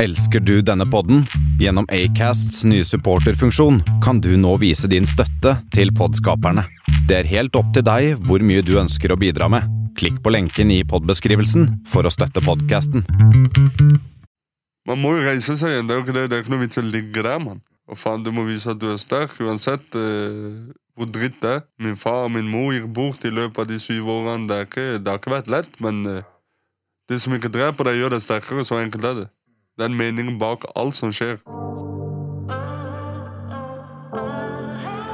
Elsker du denne podden? Gjennom Acasts nye supporterfunksjon kan du nå vise din støtte til podskaperne. Det er helt opp til deg hvor mye du ønsker å bidra med. Klikk på lenken i podbeskrivelsen for å støtte podkasten. Man må jo reise seg igjen. Det er jo ikke, det. Det er ikke noe vits i å ligge der, mann. Og faen, Du må vise at du er sterk uansett eh, hvor dritt det er. Min far og min mor gikk bort i løpet av de syv årene. Det, er ikke, det har ikke vært lett, men eh, det som ikke dreper deg, gjør deg sterkere. Så enkelt er det. Det er meningen bak alt som skjer.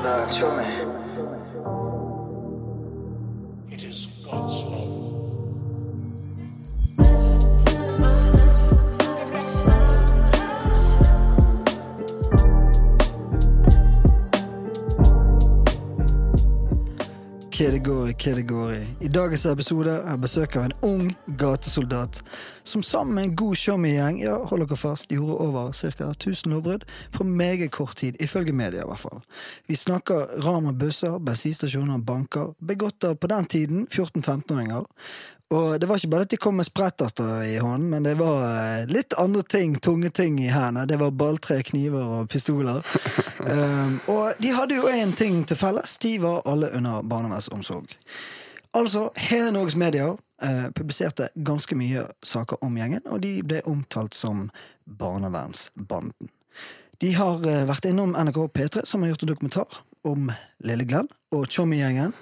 Nah, chill, man. It is God's love. Kedegori, Kedegori. I dagens episode har jeg besøk av en ung gatesoldat som sammen med en god showmegjeng ja, hold dere fast, gjorde over ca. 1000 lovbrudd på meget kort tid, ifølge media i hvert fall. Vi snakker ran av busser, bensinstasjoner, banker, begått av på den tiden 14-15-åringer. Og det var ikke bare at de kom med spretterster i hånden, men det var eh, litt andre ting, tunge ting i hendene. Det var balltre, kniver og pistoler. um, og de hadde jo én ting til felles. De var alle under barnevernsomsorg. Altså, hele Norges medier eh, publiserte ganske mye saker om gjengen, og de ble omtalt som barnevernsbanden. De har eh, vært innom NRK P3, som har gjort en dokumentar om Lille Glenn og Tjommi-gjengen.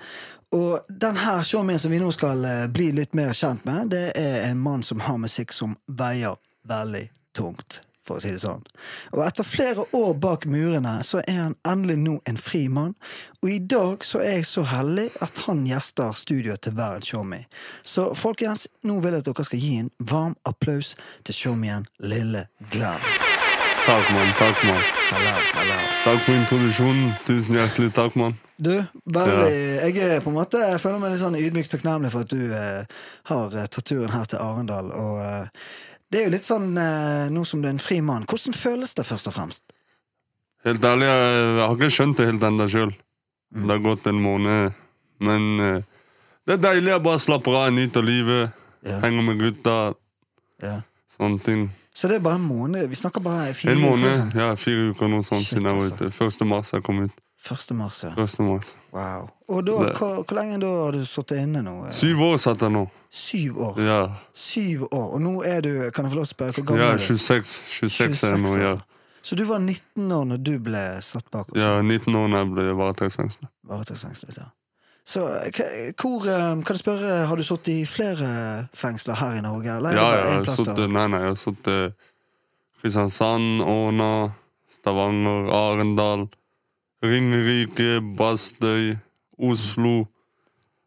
Og den her tjommien som vi nå skal eh, bli litt mer kjent med, det er en mann som har musikk som veier veldig tungt, for å si det sånn. Og etter flere år bak murene, så er han endelig nå en fri mann. Og i dag så er jeg så heldig at han gjester studioet til hver en showmy. Så folkens, nå vil jeg at dere skal gi en varm applaus til showmien Lille Glenn. Takk, mann. Takk, mann. Hallo, hallo. Takk for introduksjonen. Tusen hjertelig takk, mann. Du, veldig, jeg er på en måte Jeg føler meg litt sånn ydmykt takknemlig for at du eh, har eh, tatt turen her til Arendal. Og eh, det er jo litt sånn eh, nå som du er en fri mann. Hvordan føles det, først og fremst? Helt ærlig, jeg, jeg har ikke skjønt det helt ennå sjøl. Mm. Det har gått en måned. Men eh, det er deilig. Jeg bare slapper av, nyter livet. Ja. Henger med gutta. Ja. Sånne ting. Så det er bare en måned? Vi snakker bare fire En uker, måned. sånn. Ja, fire uker nå sånn Shit, siden jeg var altså. ute. 1. mars jeg kom ut. Første mars, ja. 1. mars. Wow. Og da, Det- hvor, hvor lenge da har du sittet inne nå? Eh, Syv år satt jeg nå. Syv år. Ja. Syv år. Og nå er du Kan jeg få lov til å spørre hvor gammel ja, er du? 26. 26 er jeg nå, ja. altså. Så du var 19 år når du ble satt bak oss? Ja, 19 år da jeg ble varetektsfengsla. Varetektsfengslet, ja. Så eh, k- hvor, eh, kan jeg spørre, har du sittet i flere fengsler her i Norge? Eller? er Ja, ja, det bare jeg én har plass sittet da? Nei, nei, jeg har sittet eh, Kristiansand, Åna, Stavanger, Arendal, Ringerike, Bastøy, Oslo.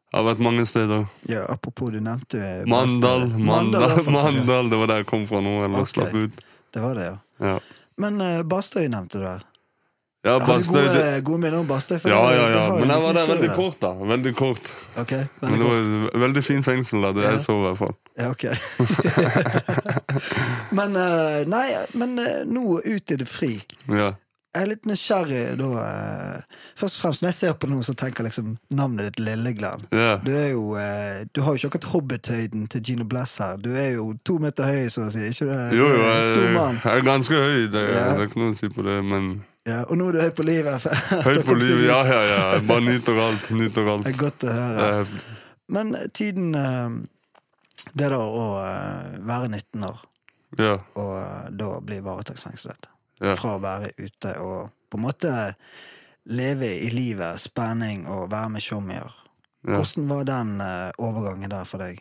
Jeg har vært mange steder. Ja, apropos, du nevnte eh, Mandal, Bastøy. Mandal, ja, faktisk, ja. Mandal. Det var der jeg kom fra nå. Eller Ok. slapp ut. Det var det, ja. Ja, Men eh, Bastøy nevnte du der. ja Har du Bastøy gode, eh, det, gode minner om Bastøy? For Ja, det- ja, det ja. har jo en Men jeg liten var der historie veldig kort, da. Veldig kort. Ok, Men veldig det var kort. et veldig fint fengsel, da. Det Ja. jeg så, i hvert fall. Ja, ok. men eh, nei, men eh, nå ut i det fri. Ja. Jeg er litt nysgjerrig da. eh, Først og fremst, når jeg ser på noen som tenker jeg liksom navnet ditt Lilleglenn. ja. Du er jo eh, Du har jo ikke akkurat hobbithøyden til Gino Blass her. Du er jo to meter høy, så å si. Ikke det? Jo, jo, eh, Du er en jeg, Stor mann. jeg er ganske høy. Det, Ja. det er ikke noe å si på det, men Ja, og nå er du høy på livet. høy Dere på kom seg livet. ut. Ja, ja, ja. Jeg Bare nyter alt. Nyter Det er alt. godt å høre. Eh, Men tiden eh, Det da å eh, være 19 år, Ja. og eh, da bli varetektsfengslet. Ja. Fra å være ute og på en måte leve i livet, spenning og være med showmier. ja. Hvordan var den eh, overgangen der for deg?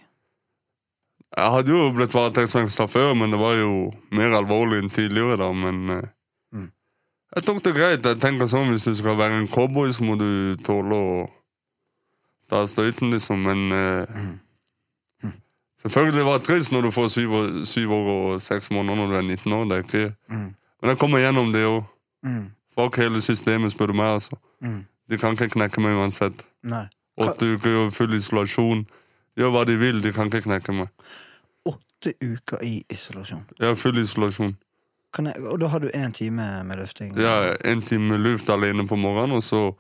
Jeg hadde jo blitt varetektsfengsla før, men det var jo mer alvorlig enn tidligere, da. Men eh, Mm. jeg tok det greit. Jeg tenker sånn, Hvis du skal være en cowboy, så må du tåle å ta støyten, liksom. Men eh, Mm. selvfølgelig var det trist når du får syv, år- syv år og seks måneder når du er 19 år. Det er ikke... Mm. Men jeg kommer gjennom det òg. Mm. Fuck hele systemet, spør du meg. altså. Mm. De kan ikke knekke meg uansett. Nei. Åtte uker og full isolasjon. Gjør hva de vil, de kan ikke knekke meg. Åtte uker i isolasjon. Jeg har full isolasjon. Kan jeg, og da har du én time med lufting? Ja, en time luft alene på morgenen, og så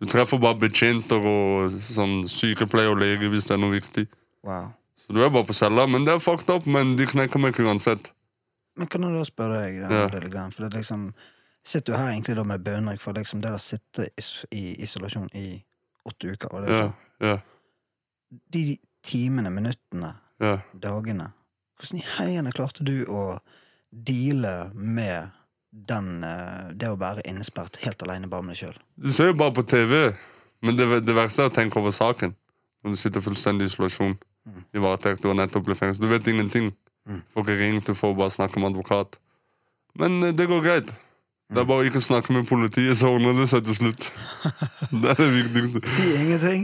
Du treffer bare betjenter og sånn sykepleier og lege hvis det er noe viktig. Wow. Så du er bare på cella, men det er fucked up, men de knekker meg ikke uansett. Men kan jeg da spørre deg, da, Ja. Adele Glenn, for det er liksom Sitter du her egentlig da med bønner for liksom det å sitte i, s- i isolasjon i åtte uker? Og det er Ja, sånn, ja, De timene, minuttene, ja. dagene Hvordan i heiene klarte du å deale med den, eh, det å være innesperret helt aleine bare med deg sjøl? Du ser jo bare på TV. Men det, det verste er å tenke over saken. Når du sitter fullstendig i isolasjon. Mm. I varetekt, du har nettopp blitt fengslet. Du vet ingenting. Mm. Får ikke ringt, du får bare snakke med advokat. Men eh, det går greit. Det Mm. er bare å ikke snakke med politiet, så ordner det seg til slutt. Det er det viktigste. Si ingenting?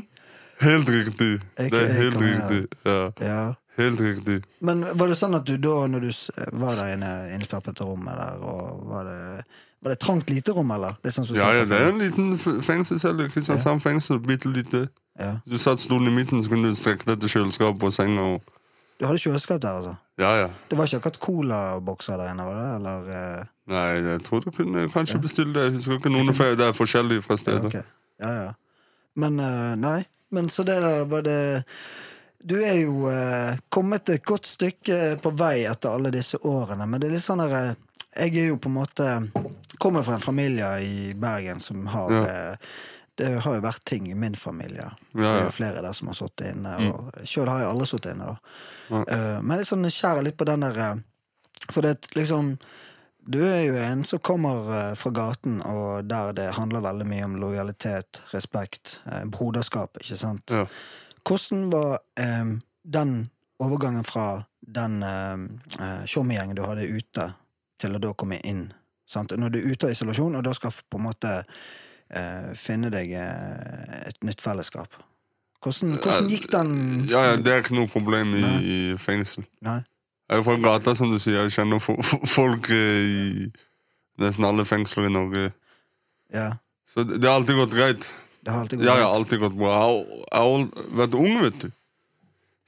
Helt riktig. Ikke- Det er jeg helt kommer riktig. Ja, Ja. helt riktig. Men var det sånn at du da, når du s- var der inne innesperret på rommet der, og var det, var det et trangt lite rom, eller? Det er sånn som du Ja, ser ja, på det er film. en liten f- fengselscelle. Kristiansand fengsel, bitte lite. ja. Du satt stolen i midten, så kunne du strekke deg til kjøleskapet og senga. Og... Du hadde kjøleskap der, altså? Ja, ja. Det var ikke akkurat colabokser der inne, var det? Eller eh, Nei, jeg tror du kunne kanskje bestille det. Jeg husker ikke noen feil. Det er forskjellig fra ja, steder. ok. Ja, ja. Men eh, nei. Men så det der var det Du er jo eh, kommet et godt stykke på vei etter alle disse årene, men det er litt sånn der eh, Jeg er jo på en måte Kommer fra en familie i Bergen som har Ja. eh, Det har jo vært ting i min familie. Ja, Det er ja. jo flere der som har sittet inne. Og Sjøl har jeg aldri sittet inne. da. Ja. Eh, men jeg er sånn nysgjerrig litt på den der eh, For det er liksom Du er jo en som kommer eh, fra gaten, og der det handler veldig mye om lojalitet, respekt, eh, broderskap, ikke sant? Ja. Hvordan var eh, den overgangen fra den eh, eh, showmegjengen du hadde ute, til å da komme inn? Sant? Når du er ute av isolasjon, og da skal på en måte eh, finne deg eh, et nytt fellesskap. Hvordan, hvordan gikk den Eh, Ja, ja, det er ikke noe problem i, Nei. i fengsel. Nei? Jeg er jo fra gata, som du sier. Jeg kjenner fo- fo- folk eh, i nesten alle fengsler i Norge. Ja, Så det det har alltid gått greit. det har alltid gått Ja, jeg greit. har alltid gått bra. Jeg har- Jeg har al- vært ung, vet du.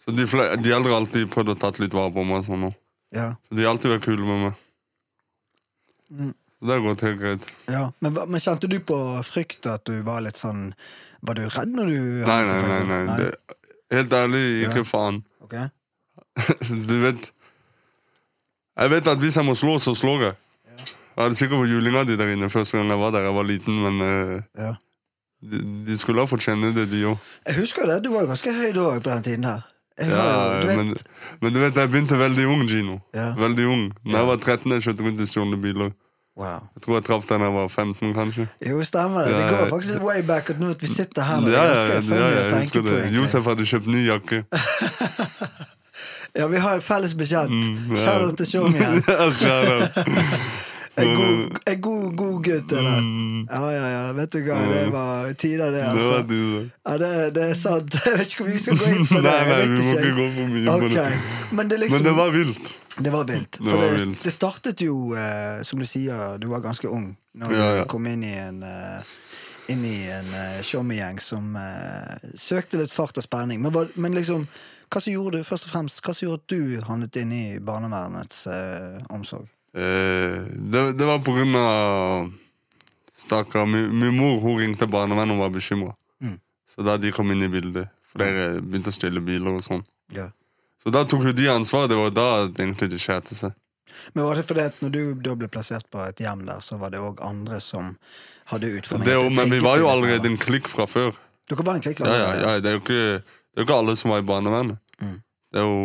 Så de, fle- de eldre har alltid prøvd å tatt litt vare på meg. og Sånn, også. Ja. så de har alltid vært kule med meg. Mm. Så det har gått helt greit. Ja, men, hva- men kjente du på frykt at du var litt sånn Var du redd når du Nei, nei, nei. nei. Det, helt ærlig, Ja. ikke faen. Ok. Du vet Jeg vet at hvis jeg må slå, så slår jeg. Jeg hadde sikkert fått julinga di der inne første gang jeg var der. Jeg var liten, men eh, Ja. de, de skulle ha fått kjenne det, de òg. Jeg husker det, du var jo ganske høy da på den tiden her. Jeg har Ja, jo- du vet- Eh, men, men du vet, jeg begynte veldig ung, Gino. Ja. Veldig ung. Når jeg var 13, jeg kjørte rundt i stjålne biler. Wow. Jeg tror jeg traff den da jeg var 15, kanskje. Jo, stemmer det. Ja, Det går ja. faktisk way back at nå at vi sitter her. og ja, det ja, er ja, ganske funny ja, å jeg tenke husker på, det. egentlig. Josef hadde kjøpt ny jakke. Ja, vi har en felles bekjent. Mm, ja. Shout out til Tjong igjen. Ja, kjære. En god, en god, god gutt, det der. Ja, ja, ja. Vet du hva, det var tider, det, Mm. Det var altså. de, da. Ja, det, det er sant. Jeg vet ikke om vi skal gå inn på det. Nei, nei, jeg vi vet må ikke. ikke gå for mye på det. Ok, Men det, er liksom, Men det var vilt. Det var vilt. Det For var det, vilt. det startet jo, eh, som du sier, du var ganske ung når Ja, ja. du kom inn i en eh, inn i en eh, showmegjeng som eh, søkte litt fart og spenning. Men, var, men liksom, hva som gjorde du, først og fremst, hva som gjorde at du havnet inn i barnevernets eh, omsorg? Eh, det, det var på grunn av Stakkar. Min, min mor hun ringte barnevernet og var bekymra. Mm. Så da de kom inn i bildet. Flere begynte å stjele biler og sånn. Ja. Så da tok jo de ansvar. Det var da egentlig det skjedde seg. Men var det fordi at når du da ble plassert på et hjem der, så var det òg andre som hadde utfordringer? Det, er jo- men vi var jo Klikket allerede dere? en klikk fra før. Dere var en klikk Ja, ja, allerede? ja. Det er jo ikke, det er jo ikke alle som var i barnevernet. Mm. Det er jo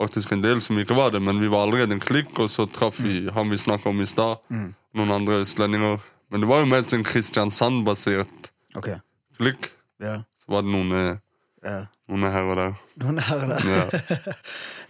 faktisk en del som ikke var det, men vi var allerede en klikk, og så traff vi han vi snakka om i stad, Mm. noen andre østlendinger. Men det var jo mer en sånn Kristiansand-basert Ok. klikk. Ja. Så var det noen eh, ja. Noen er her og der. Noen her og der.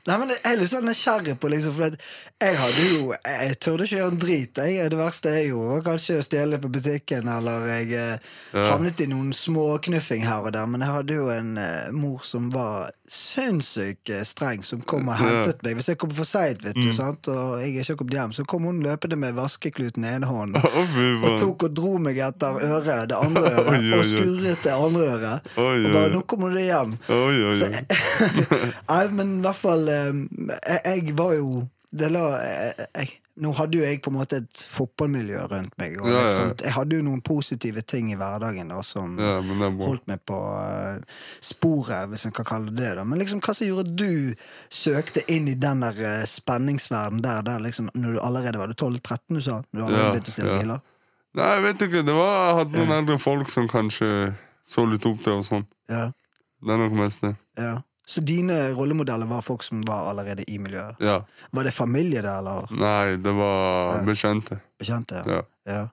Nei, men Jeg er litt sånn nysgjerrig på liksom, for at jeg hadde jo Jeg tørde ikke gjøre en drit. Jeg, det verste jeg gjorde, var kanskje å stjele på butikken, eller jeg eh, Ja. havnet i noen småknuffing her og der. Men jeg hadde jo en eh, mor som var sinnssykt eh, streng, som kom og hentet meg. Hvis jeg kom for seint, vet du, Mm. sant, og jeg ikke kom hjem, så kom hun løpende med vaskekluten i ene hånden. Å, fy Og faen. tok og dro meg etter øret, det andre øret, Oi, oi, oi. og skurret det andre øret. Oi, Og bare oi. 'nå kommer du hjem'. Oi, oi, Så, oi. nei, men i hvert fall eh, ehm, jeg, jeg var jo det la jeg, jeg, Nå hadde jo jeg på en måte et fotballmiljø rundt meg. Og Ja, ja, litt ja. sånt. Jeg hadde jo noen positive ting i hverdagen da, som Ja, men det er bra. holdt meg på eh, sporet, hvis en kan kalle det det. da. Men liksom, hva som gjorde at du søkte inn i den der eh, spenningsverdenen der, der liksom, når du allerede var 12-13, du sa? Du allerede Ja, begynte å ja. stille biler? Nei, jeg vet ikke. Det var, jeg hadde noen eldre folk som kanskje så litt opp til og sånn. Ja, Det er nok mest det. ja. Så dine rollemodeller var folk som var allerede i miljøet? Ja. Var det familie der, eller Nei, det var bekjente. bekjente? Ja. Ja.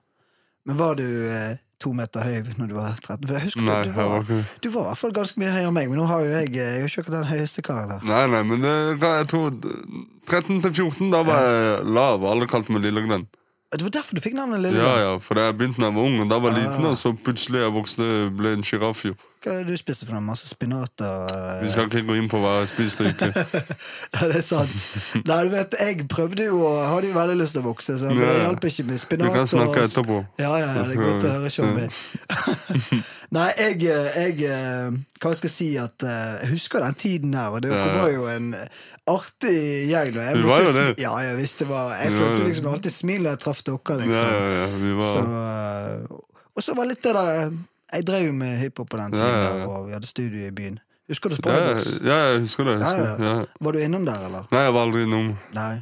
Men var du eh, to meter høy når du var 13? For jeg husker Nei, du, jeg var var, ikke du var i hvert fall ganske mye høyere enn meg, men nå har jo jeg, eh, jeg er jo ikke den høyeste karen her. Nei, nei, men det, jeg tror 13 til 14, da var jeg lav. Alle kalte meg Lillegren. Det var derfor du fikk navnet Lille. Ja, ja, for jeg begynte da jeg var ung, og da var jeg liten, Ah. og så plutselig jeg vokste ble en sjiraff. jo. Hva er det du spiste for noe? Masse spinat og eh, Vi skal ikke gå inn på hva jeg spiste og ikke. Ja, det er sant. Nei, du vet, jeg prøvde jo og hadde jo veldig lyst til å vokse, så det Ja, ja. hjalp ikke med Vi spinat. kan snakke og- etterpå. Ja, ja, ja, det er godt å høre, Tjommi. Mm. Nei, jeg, jeg eh, Hva skal jeg si at eh, Jeg husker den tiden der, og det Ja, ja. var jo en artig gjeng. da. Jeg Vi var jo følte smi- det. Ja, jeg visste det var Vi Jeg var følte det. liksom alltid smil da jeg traff dere, Ja, liksom. ja, ja, vi Så, var... eh, og så var litt det der Jeg drev jo med hiphop på den tiden, Ja, ja, ja. der, og vi hadde studio i byen. Husker du Ja, Spydox? ja, jeg husker det. jeg Ja, Husker. det, ja. Ja. Var du innom der, eller? Nei, jeg var aldri innom. Nei.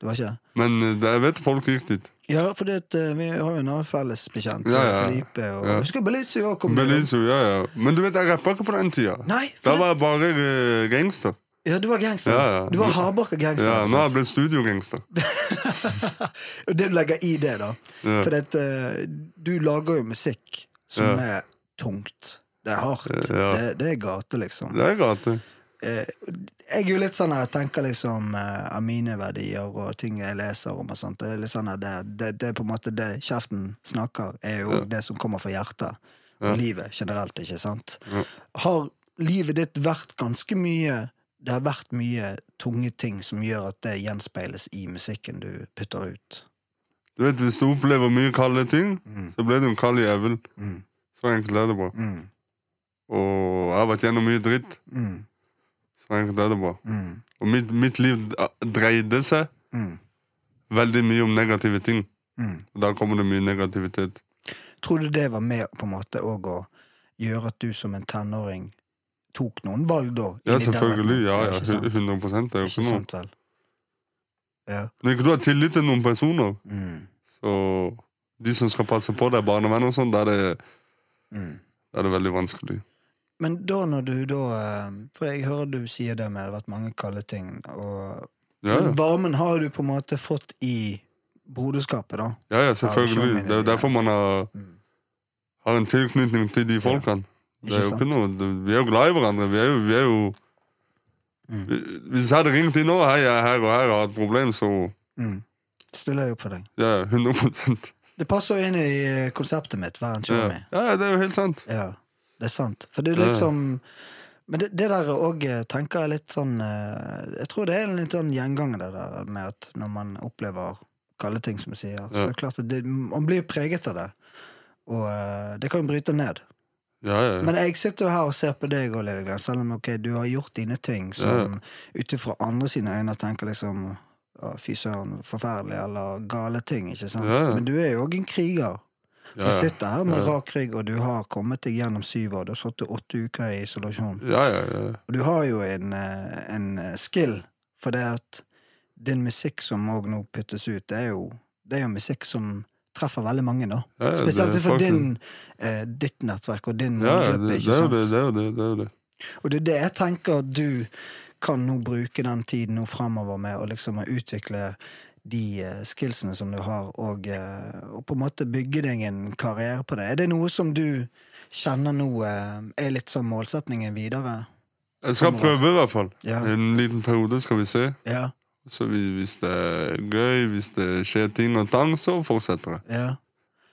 Du var ikke det? Men eh, det- jeg vet folk gikk dit. Ja, for det, eh, vi har jo en annen felles bekjent. eh, Ja, ja, ja. Felipe og Ja. Husker Belizio òg kom innom. Belizo, ja, ja. Men du vet, jeg rappa ikke på den tida. Nei, Da for det- var jeg bare eh, gangster. Ja, du var gangster. Ja, ja. Du var hardbarka gangster. Ja, ikke Nå har jeg sant? blitt studiogangster. Og det du legger i det, da. Ja. For at, eh, du lager jo musikk som Ja. er tungt. Det er hardt. Ja. Det, det er gate, liksom. Det er gate. Eh, Jeg er jo litt sånn her, jeg tenker liksom eh, av mine verdier og ting jeg leser om og sånt. Det er litt sånn her, det, det, det er på en måte det kjeften snakker, er jo det som kommer fra hjertet. Og livet generelt, ikke sant? Har livet ditt vært ganske mye Det har vært mye tunge ting som gjør at det gjenspeiles i musikken du putter ut. Du vet, Hvis du opplever mye kalde ting, så ble du en kald jævel. Mm. Så enkelt er det bare. Mm, Og jeg har vært gjennom mye dritt. mm, Så enkelt er det bare. mm, Og mitt, mitt liv eh, dreide seg mm, veldig mye om negative ting. mm. Og da kommer det mye negativitet. Tror du det var med på en måte òg å gjøre at du som en tenåring tok noen valg da? Ja, inni der selvfølgelig. verden? Ja, ja, ikke sant? 100 det er jo Ikke ikke noe. sant vel? Ja. Når ikke du har tillit til noen personer, Mm, så de som skal passe på deg, barnevenn og sånn, da er det, mm. da er det veldig vanskelig. Men da når du da eh, For jeg hører du sier det med det har vært mange kalde ting, og Ja, ja. Men varmen har du på en måte fått i broderskapet, da. Ja, ja, selvfølgelig. skjønner Det er jo det, ja. derfor man har, Mm. har en tilknytning til de folkene. Det er jo sant? ikke noe, det- vi er jo glad i hverandre. Vi er jo, vi er jo Mm. Vi- Hvis jeg hadde ringt inn nå, hei, jeg er her og her og har et problem, så Mm. Stiller jeg opp for deg. ja, 100 Det passer jo inn i eh, konseptet mitt, vær ja. en showman. ja, ja, det er jo helt sant. Ja, det er sant. For det er Ja. liksom Men det, det der òg tenker jeg litt sånn eh, Jeg tror det er en litt sånn gjenganger, det der med at når man opplever kalde ting, som du sier, så er det klart at det, man blir preget av det. Og eh, det kan jo bryte ned. Ja, ja, ja. Men jeg sitter jo her og ser på deg, og Lillegren, selv om ok, du har gjort dine ting som ut ifra andre sine øyne tenker liksom «Å, Fy søren, forferdelig, eller gale ting. ikke sant? Ja, ja. Men du er jo òg en kriger. Du Ja, ja. sitter her med rak rygg, og du har kommet deg gjennom syv år. Du har sittet åtte uker i isolasjon. ja, ja, ja. Og du har jo en, eh, en eh, skill, for det at din musikk som òg nå puttes ut, det er jo, det er jo musikk som treffer veldig mange, da. Ja, ja, det Spesielt er for faktisk- din, eh, ditt nettverk og din ja ja, det, målgruppe. det ikke er jo sant? det. det, er jo det, det, er jo det. Og det er det jeg tenker at du kan nå bruke den tiden nå framover med å liksom å utvikle de eh, skillsene som du har, og, eh, og på en måte bygge deg en karriere på det. Er det noe som du kjenner nå eh, er litt sånn målsetningen videre? Jeg skal prøve, i hvert fall. Ja. En liten periode skal vi se. Ja. Så vi, hvis det er gøy, hvis det skjer ting og tang, så fortsetter jeg. ja.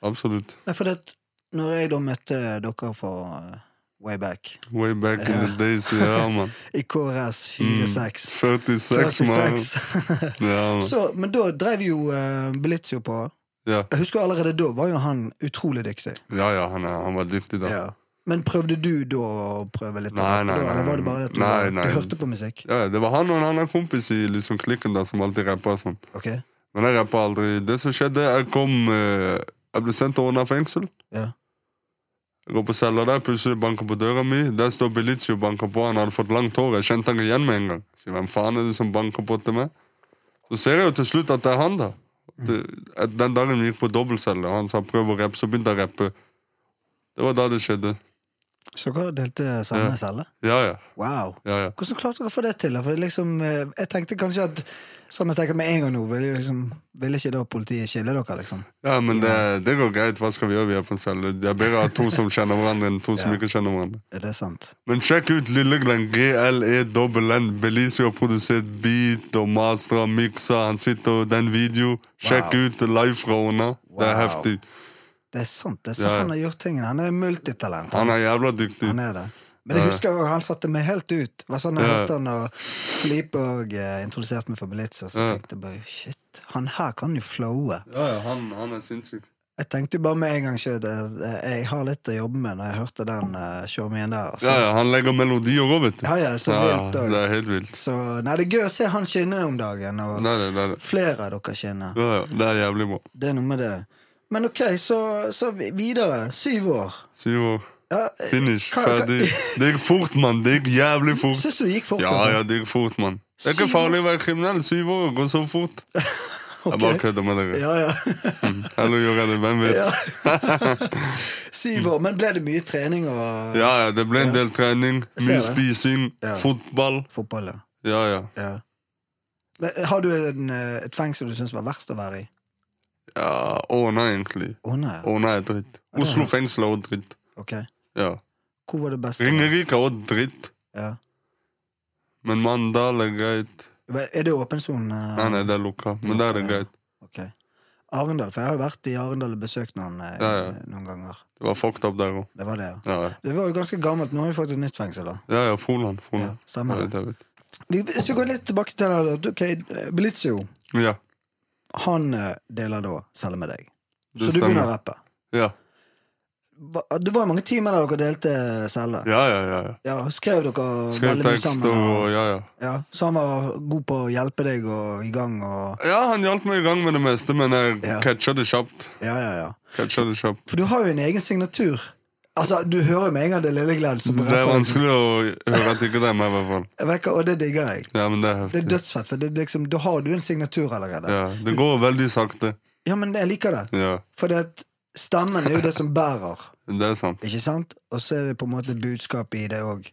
Absolutt. Nei, for det, når jeg da møtte dere for eh, way back Way back in Ja. the days. Ja, mann. i KRS 46 Mm. 46, mann. 46. Ja, mann. Så, men da drev jo eh, Belizio på. Ja. Jeg husker allerede da var jo han utrolig dyktig. ja, ja han, er, han var dyktig da. Ja. Men prøvde du da å prøve litt? Nei, å rappe nei, da, nei, eller var det bare det at du, nei, nei. du hørte på musikk? Ja, det var han og en annen kompis i liksom klikken der som alltid rappa sånn. Ok, Men jeg rappa aldri. Det som skjedde, jeg kom eh, Jeg ble sendt til Åna fengsel. ja. Jeg går på cella der, plutselig banker på døra mi. Der står Belizio og banker på. Han hadde fått langt hår. Jeg kjente han igjen med en gang. Sier, hvem faen er det som banker på til meg? Så ser jeg jo til slutt at det er han, da. Mm. Det, at den dagen vi gikk på dobbeltcelle, og han sa 'prøv å rappe', så begynte jeg å rappe. Det var da det skjedde. Så dere delte samme Ja. celle? Ja, ja. Wow! ja, ja. Hvordan klarte dere å få det til? da? For det er liksom, eh, jeg tenkte kanskje at Sånn jeg tenker med en gang nå, ville liksom, vil ikke da politiet skille dere, liksom? Ja, men det, det går greit. Hva skal vi gjøre? Vi er på en celle. Det er bedre å ha to som kjenner hverandre, enn to som Ja. ikke kjenner hverandre. Er det sant? Men sjekk ut Lilleglenn, E G-L-E-N. Belizio har produsert beat og mastra og miksa. Han sitter og den video. Sjekk Wow. ut live fra henne. Det er Wow. heftig. Det er sant, det er så Ja. han har gjort tingene. Han er multitalent. Han er jævla dyktig. Han er det. Men jeg Ja. husker jo, han satte meg helt ut. Det var sånn jeg Ja. hørte han og Filipe og eh, introduserte meg for Belitza, så Ja. tenkte jeg bare shit, han her kan jo flowe. Ja, ja, han, han er sinnssyk. Jeg tenkte jo bare med en gang selv at eh, jeg har litt å jobbe med når jeg hørte den uh, showmien der. Ja, Så, ja, han legger melodier òg, vet du. ja, ja, så Ja, ja, vilt det og- er helt vilt. Så nei, det er gøy å se han skinne om dagen, og Nei, nei, nei, nei. flere av dere skinner. Ja, ja, det er jævlig bra. Det er noe med det. Men ok, så, så vi- videre. Syv år. Syv år. Ja, eh, Finish. hva- hva- Ferdig. Det gikk fort, mann. Det gikk jævlig fort. Syns du det gikk fort? Ja, altså? ja, det gikk fort, mann. Det er ikke Syv farlig å være kriminell. Syv år går så fort. Jeg bare kødder med dere. Ja, ja. Eller gjør jeg det? Hvem vet? ja. Syv år. Men ble det mye trening og Ja, ja, det ble en del trening. Jeg Mye ser det. spising. Ja. Fotball. fotball? Ja. Ja, ja. ja. Men, har du en, eh, et fengsel du syns var verst å være i? ja Åna, egentlig. Å nei. Åna er dritt. Ja, det er Oslo det. fengsel er også dritt. Ok. Ja. Hvor var det beste? Ringerike er også dritt. Ja. Men Mandal er greit. Hva- Er det åpen eh? sone? Nei, nei, det er lukka. Men der er det Ja. greit. Ok. Arendal, for jeg har jo vært i Arendal og besøkt noen, eh, Ja, ja. noen ganger. Det var fucked up der òg. Det var det, ja. Ja, ja. Det var jo ganske gammelt. Nå har vi fått et nytt fengsel, da. ja, ja. Froland. Ja, Froland. stemmer Mm. Ja, det. det vet jeg. Vi, hvis vi går litt tilbake til det der, ok, Belizio, Ja, han eh, deler da celle med deg. det Så du begynner å stemmer. rappe. Ja, Hva- Det var jo mange timer der dere delte celle. Ja. ja, ja. ja, ja. skrev dere Skrev veldig mye tekster sammen? og Og, ja, ja. ja, så han var god på å hjelpe deg og i gang og Ja, han hjalp meg i gang med det meste, men jeg Ja. catcha det kjapt. Ja, ja, ja. Catcha det kjapt. For du har jo en egen signatur. Altså, Du hører jo med en gang det er Lilleglad som Det er rapper. vanskelig å høre at ikke det er meg, i hvert fall. Jeg vet ikke, Og det digger jeg. Ja, men det er Det er heftig. dødsfett, for det er liksom, da har du en signatur allerede. Ja, det går veldig sakte. Ja, men jeg liker det. Ja, For det at stemmen er jo det som bærer. det er sant. Ikke sant? Og så er det på en måte budskapet i det òg.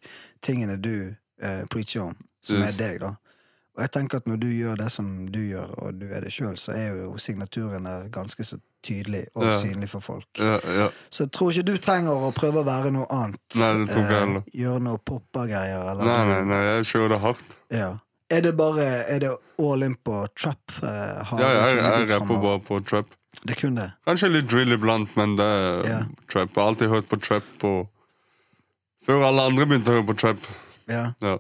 Tingene du eh, preacher om, som Yes. er deg, da. Og jeg tenker at når du gjør det som du gjør, og du er det sjøl, så er jo signaturen der ganske så tydelig og Ja. synlig for folk. Ja, ja. Så jeg tror ikke du trenger å prøve å være noe annet. eh, Nei, det tror ikke jeg heller. gjøre noe poppa-greier, eller Nei, nei, nei, jeg kjører det hardt. Ja. Er det bare er det all in på trap? Eh, har Ja, jeg, du jeg tenkt rapper fremover? bare på trap. Det er kun det. Kanskje litt drill iblant, men det er Ja. trap. Jeg har alltid hørt på trap og Før alle andre begynte å høre på trap. Ja. Ja.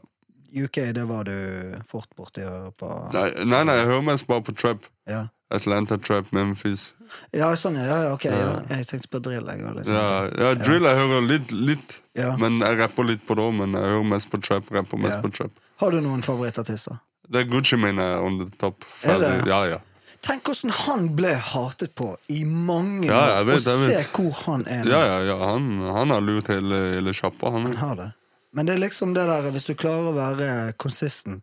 UK, det var du fort borti å høre på. Nei, nei, nei, jeg hører mest bare på trap. Ja. Atlanta trap, Memphis. Ja, sånn, ja, ja, ok. Ja. Jeg tenkte på drill. Jeg, og litt sånn. Ja, sånt. ja drill jeg hører litt, litt. Ja. Men jeg rapper litt på det òg, men jeg hører mest på trap. Rapper mest Ja. på trap. Har du noen favorittartister? Det er Gucci mine on the top. Er det? Ferdig. Ja, ja. Tenk hvordan han ble hatet på i mange Ja, jeg vet, år, og jeg se vet. hvor han er nå. Ja, ja, ja. Han, han har lurt hele, hele sjappa, han. Han har det. Men det er liksom det der, hvis du klarer å være consistent,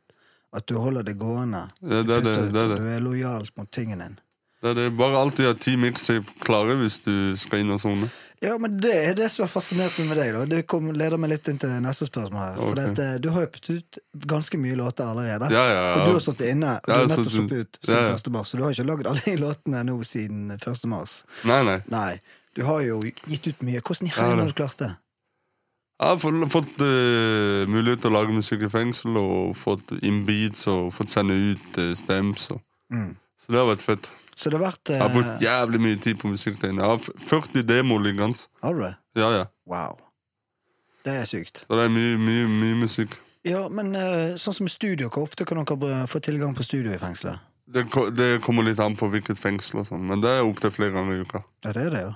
at du holder det gående, Ja, det er det, putter ut, det er det. du er lojal mot tingen din. Det er det. Bare alltid ha ti mixtape klare hvis du skal inn og sone. Ja, men Det er det som er fascinerende med deg. da Det kom, leder meg litt inn til neste spørsmål. her For Ok. det at, eh, Du har jo putt ut ganske mye låter allerede. Ja, ja, ja. Og du har stått inne og du Ja, har jeg har nettopp stått- sluppet ut siden ja, ja. 1. mars. Så du har ikke lagd alle de låtene nå siden 1. mars. Nei, nei. Nei, du har jo gitt ut mye. Hvordan i Ja, helvete det. har du klart det? Jeg har fått, fått eh, mulighet til å lage musikk i fengsel, og fått innbeats og fått sende ut eh, stems. Og. Mm. Så det har vært fett. Så det har vært eh, Jeg har brukt jævlig mye tid på musikk. der inne. Jeg har f- 40 demoer liggende. Har du det? Ja, ja. Wow. Det er sykt. Så det er mye, mye, mye musikk. Ja, men eh, sånn som studio, hvor ofte kan dere br- få tilgang på studio i fengselet? Det, ko- det kommer litt an på hvilket fengsel, og sånn, men det er opptil flere ganger i uka. Ja, det er det, ja.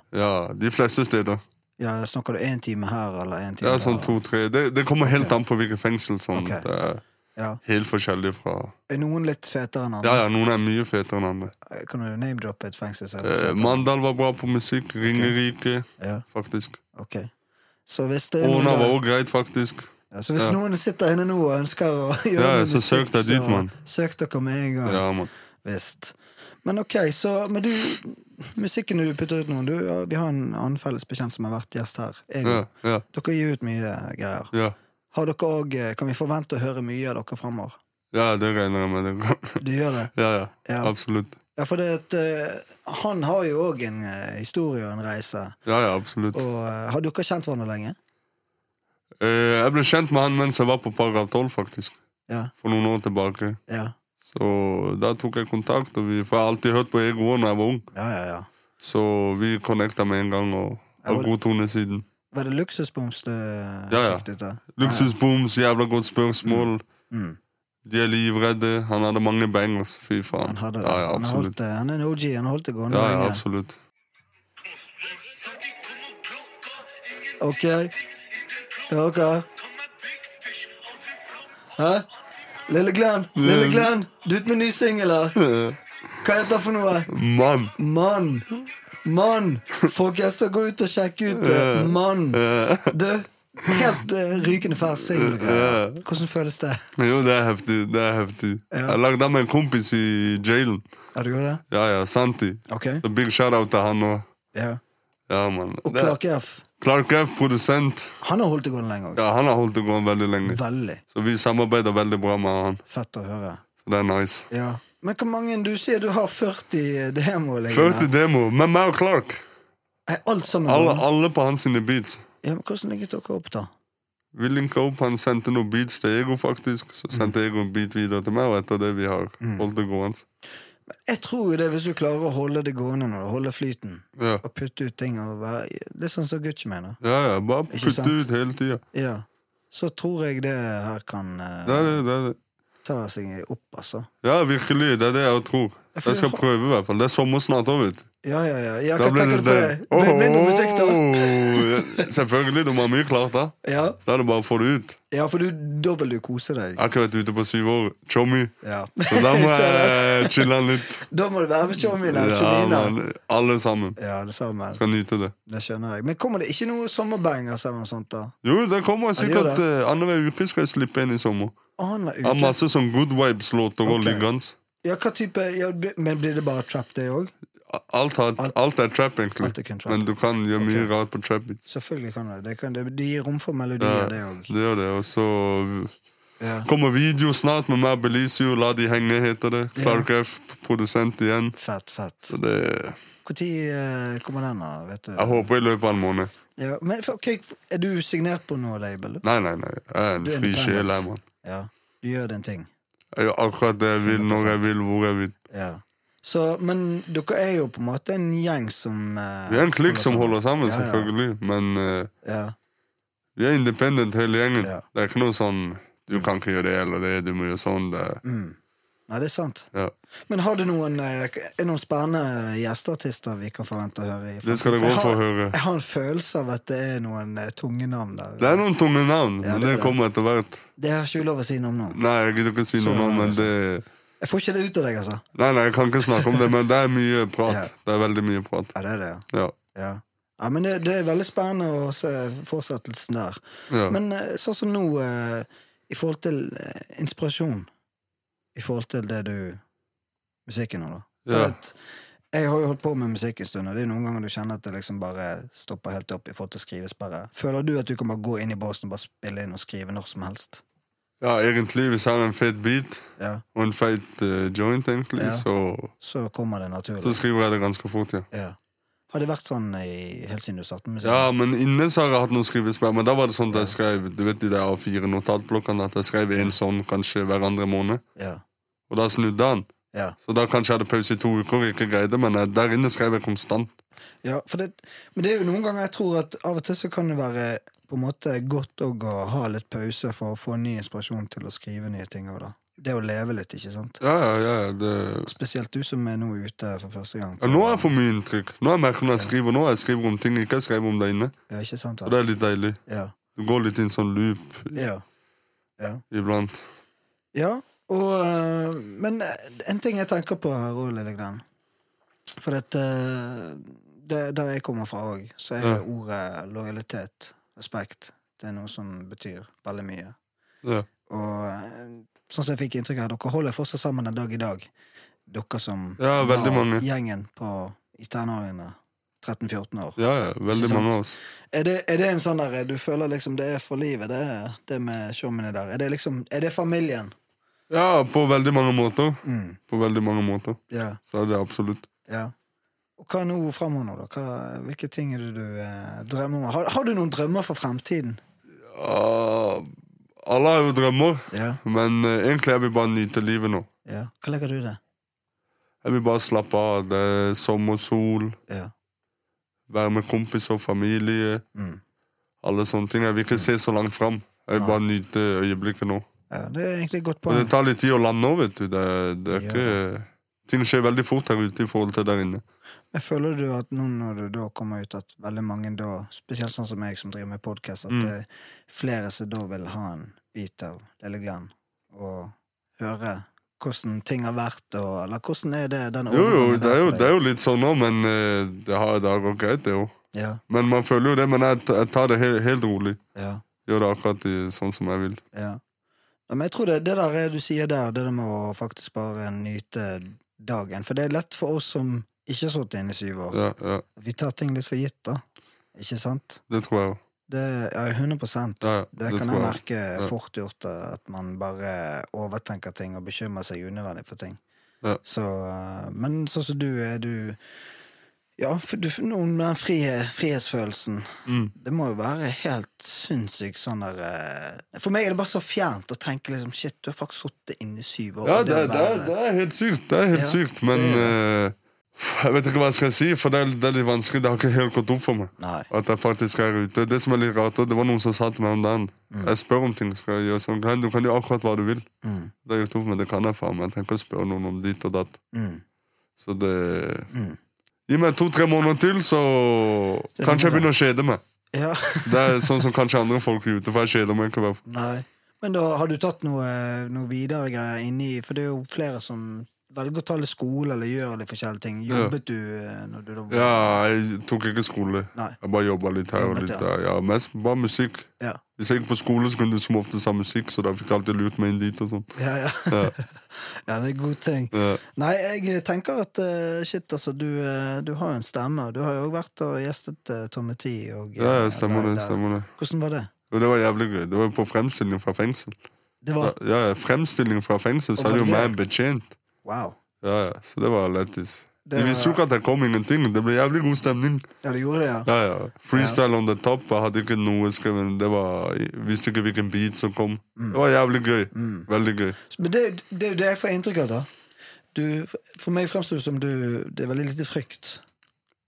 Ja, De fleste steder. Ja, Snakker du én time her eller én time Ja, der? sånn to-tre. Det, det kommer helt Ok. an på hvilket fengsel. Sånn. Ok. Det er Ja. helt forskjellig fra Er noen litt fetere enn Ja, andre? ja, noen er mye fetere enn andre. Kan du name-droppe et fengsel? som er Eh, fetere? Mandal var bra på musikk. Ringerike, Ja, faktisk. ok. Så hvis det er noen, Åna var der- også greit, faktisk. ja, så hvis ja. noen sitter inne nå og ønsker å gjøre Ja, noe så søk deg dit, så mann. Søk dere med en gang. Ja, man. Visst. Men ok, så Men du, musikken du putter ut nå du, ja, Vi har en annen felles bekjent som har vært gjest her. Jeg, Ja, ja, Dere gir ut mye greier. ja. Har dere òg Kan vi forvente å høre mye av dere framover? ja det regner jeg med. det går. Du gjør det? Ja, ja. Ja. Absolutt. Ja, for det at eh, han har jo òg en eh, historie og en reise. Ja, ja, absolutt. Og eh, har dere kjent hverandre lenge? Eh, jeg ble kjent med han mens jeg var på Paragraf 12, faktisk. Ja. For noen år tilbake. Ja, Så da tok jeg kontakt, og vi, for jeg har alltid hørt på Ego da jeg var ung. ja, ja. ja. Så vi connecta med en gang, og Ja, har var- god tone siden. Var det luksusboms du eh, Ja, ja. sjekket ut av? Luksusbooms, jævla godt spørsmål. Mm. De er livredde. Han hadde mange bangers. Fy faen. Han hadde det. Ja, ja, han, har holdt, absolutt. det. han er en OG, han holdt det gående Ja, ja, lenge. absolutt. Ok. Dere? Hæ? Lille Glenn, Mm. Lille Glenn, du ut med ny singel her. Hva heter det for noe? Mann! Mann! Mann! Folkens, så gå ut og sjekk ut eh, Mann. Du, helt eh, rykende fersk singel. Hvordan føles det? Jo, det er heftig. det er heftig. Ja. Jeg lagde med en kompis i jailen. Har du gjort det? Ja, ja, Santi. Ok. Så big shout-out til han òg. Ja. Ja, man. Og Det er- Clark F. Clark F, produsent. Han har holdt det gående lenge òg. Ja, Han har holdt det gående veldig lenge. Veldig. Så vi samarbeider veldig bra med han. Fett å høre. Så det er nice. Ja. Men hvor mange Du sier du har 40 demoer Første liggende. demo med meg og Clark. Er Alt sammen? Alle, gående? alle på hans sine beats. Ja, men hvordan ligger dere opp, da? Vi linka opp, han sendte noen beats til Ego, faktisk. Så sendte Ego en beat videre til meg, og etter det vi har Mm. holdt det gående. Jeg tror jo det, hvis du klarer å holde det gående når du holder flyten, Ja, og putte ut ting og være Det er sånn som Gucci mener. ja, ja bare Ikke putte sant? ut hele tida. Ja. Så tror jeg det her kan eh, Det er det, det er det. ta seg opp, altså. Ja, virkelig. Det er det jeg tror. for Jeg skal jeg har- prøve, i hvert fall. Det er sommer snart òg, vet du. Ja, ja, ja. ja Da hva blir tenker det du på det. det? Det blir mindre musikk, da. Åh, Selvfølgelig. Du må ha mye klart, da. Ja, Da er det bare å få det ut. ja for du, da vil du kose deg. Jeg har ikke vært ute på syv år. Chommy. Ja. Så da må Så jeg chille han litt. da må du være med Chomina. Ja, Chomina. man, alle sammen. Ja, det sammen. Skal nyte det. Det skjønner jeg. Men kommer det ikke noe sommerbangers eller noe sånt, da? Jo, det kommer Ja, det gjør sikkert eh, annenhver uke skal jeg slippe en i sommer. Annenhver Jeg har uke? masse sånn good vibes-låter og Ok. liggende. Ja, hva type ja, bli- Men blir det bare trap, det òg? Alt, har- Alt- alt er trap, egentlig. Alt er kun trap. Men du kan gjøre mye rart på trap beats. Selvfølgelig kan det. det, kan, det det gir rom for melodier, Ja, det det òg. gjør det. Og så Ja. kommer video snart med meg og Belicio. La de henge, heter det. Ja. Clark F, produsent igjen. Fett, fett. Så det Når uh, kommer den, da? Vet du? Jeg håper i løpet av en måned. Ja, men for- ok, Er du signert på noe label? du? Nei, nei, nei. Jeg er en Du er fri sjel, independent. jeg, mann. Ja. Du gjør din ting. Jeg gjør akkurat det jeg vil, når jeg vil, hvor jeg vil. Ja. Så, men dere er jo på en måte en gjeng som eh, Vi er en klikk som holder sammen, Ja, ja. selvfølgelig. Men eh, Ja. vi er independent, hele gjengen. Ja. Det er ikke noe sånn Du kan ikke gjøre det eller det, du må gjøre sånn. Det. Mm. Nei, det er sant. Ja. Men har du noen, eh, er det noen spennende gjesteartister vi kan forvente å høre i? Det skal dere jeg godt få har- høre. Jeg har en følelse av at det er noen eh, tunge navn der. Det er noen tunge navn, Ja, men det er det det. kommer etter hvert. Det har ikke vi lov å si noe om nå. Nei, jeg gidder ikke si noe Så- nå, men det Jeg får ikke det ut av deg, altså. Nei, nei, jeg kan ikke snakke om det, men det er mye prat. Ja. Det er veldig mye prat. Ja, det er det, ja. Ja. Ja, ja men det, det er veldig spennende å se fortsettelsen der. ja. Men eh, sånn som nå, eh, i forhold til eh, inspirasjon I forhold til det du Musikken nå, da. For Ja. at jeg har jo holdt på med musikk en stund, og det er noen ganger du kjenner at det liksom bare stopper helt opp i forhold til skrivesperre. Føler du at du kan bare gå inn i båsen og bare spille inn og skrive når som helst? ja, egentlig, hvis jeg har en fet beat Ja, og en feit eh, joint, egentlig, Ja. så, Så kommer det så naturlig. skriver jeg det ganske fort, ja. Ja. Har det vært sånn i, helt siden du startet med Ja, musikken? men inne så har jeg hatt noen skrivesperr, men da var det sånn at jeg skrev du vet de der A4 notatblokkene, at jeg skrev en sånn kanskje hver andre måned, Ja. og da snudde han. ja. Så da kanskje jeg hadde pause i to uker og ikke greide, men eh, der inne skrev jeg konstant. Ja, for det, men det er jo noen ganger jeg tror at av og til så kan det være på en måte godt òg å ha litt pause for å få ny inspirasjon til å skrive nye ting òg, da. det å leve litt, ikke sant? Ja, ja, ja. ja, Det... Spesielt du som er nå ute for første gang. Ja, nå har jeg for mye inntrykk. Nå har jeg merket når jeg skriver, nå har jeg skriver om ting jeg ikke skrev om der inne. Ja, ikke sant? Og Da? det er litt deilig. Ja. Du går litt i en sånn loop Ja. ja. iblant. Ja, og, øh, men øh, en ting jeg tenker på her òg, Lillegren For at, øh, det, der jeg kommer fra òg, så er Ja. ordet lojalitet, respekt, det er noe som betyr veldig mye. Ja. Og øh, sånn som jeg fikk inntrykk av, dere holder fortsatt sammen en dag i dag. Dere som Ja, veldig mange. gjengen på, i tenårene. 13-14 år. Ja, ja, veldig Ikke sant? mange altså. av oss. Er, det, er det en sånn der du føler liksom det er for livet, det, er- det med showmene der? Er det liksom, er det familien? Ja, på veldig mange måter. Mm, På veldig mange måter. ja. Så er det absolutt. Ja. Og hva nå fremover, nå, da? Hva, hvilke ting er det du eh, drømmer om? Har, har du noen drømmer for fremtiden? Ja, alle har jo drømmer, Ja. men eh, egentlig jeg vil bare nyte livet nå. ja. Hva legger du i det? Jeg vil bare slappe av. Det er sommersol, Ja. være med kompiser og familie. Mm. Alle sånne ting. Jeg vil ikke se så langt fram. Jeg vil bare nyte øyeblikket nå. ja. Det er egentlig et godt Men poeng. det tar litt tid å lande òg, vet du. Det, det er Ja. ikke Ting skjer veldig fort her ute i forhold til der inne. Jeg føler du at nå når du da kommer ut, at veldig mange da, spesielt sånn som jeg som driver med podkast, at Mm. det er flere som da vil ha en bit av Lille Glenn, og høre hvordan ting har vært, og eller hvordan er det den Jo, jo, overgangen det er der jo, for det er deg? jo litt sånn òg, men eh, det har, det har gått greit, det òg. Ja, Men man føler jo det, men jeg, jeg tar det helt, helt rolig. ja. Gjør det akkurat i, sånn som jeg vil. Ja. ja men jeg tror det, det der er- du sier der, det der med å faktisk bare nyte dagen. For det er lett for oss som ikke har sittet inne i syv år. Ja, ja, Vi tar ting litt for gitt, da. Ikke sant? Det tror jeg òg. Det er 100 Ja, ja, Det det kan jeg tror jeg. merke Ja. fort gjort, eh, at man bare overtenker ting og bekymrer seg unødvendig for ting. Ja. Så, eh, men sånn som du er, du Ja, for du, noen med den frihe- frihetsfølelsen Mm. det må jo være helt sinnssykt sånn der eh, For meg er det bare så fjernt å tenke liksom Shit, du har faktisk sittet inne i syv år. Ja, og det, å er- det, er, være- det er helt sykt. Det er helt Ja, sykt, men det eh, Jeg vet ikke hva jeg skal si, for det er, det er litt vanskelig. Det har ikke helt gått opp for meg. Nei. At jeg faktisk er ute. Det som er litt rart, og det var noen som sa til meg om dagen Jeg spør om ting. skal jeg gjøre sånn. «Glenn, Du kan gjøre akkurat hva du vil. Mm, Det har gjort opp, men det kan jeg faen meg. Jeg tenker å spørre noen om ditt og datt. mm, Så det Mm. Gi meg to-tre måneder til, så Det er kanskje jeg bra. begynner å kjede meg. ja, Det er sånn som kanskje andre folk er ute, for jeg kjeder meg ikke. i hvert fall. nei. Men da har du tatt noe, noe videre greier inni For det er jo flere som velger å ta litt skole eller gjør litt forskjellige ting. Ja. Jobbet du eh, når du da Ja, jeg tok ikke skole. Nei. Jeg bare jobba litt her og Jobbet, litt ja. der. Ja, mest bare musikk. Ja. Hvis jeg gikk på skole, så kunne du som oftest ha musikk, så da fikk jeg alltid lurt meg inn dit og sånn. Ja, ja. Ja. ja, det er en god ting. Ja. Nei, jeg tenker at eh, shit, altså, du, eh, du har jo en stemme. Du har jo også vært og gjestet uh, Tomme Ti. Og, ja, eh, ja, stemmer det. der- stemmer det. Hvordan var det? Og det var jævlig gøy. Det var jo på fremstilling fra fengsel. Det var Ja, ja, fremstilling fra fengsel, så Og hadde jo var det meg betjent. Wow. Ja, ja, Så det var lættis. Det De visste jo var- ikke at jeg kom ingenting. Det ble jævlig god stemning. Ja, du gjorde det, ja. Ja, ja. Freestyle on the top. Jeg hadde ikke noe skrevet. Det var, jeg visste ikke hvilken beat som kom. Mm. Det var jævlig gøy. Veldig gøy. Men det, det er jo det jeg får inntrykk av, da. Du, for meg fremstår det som du Det er veldig lite frykt,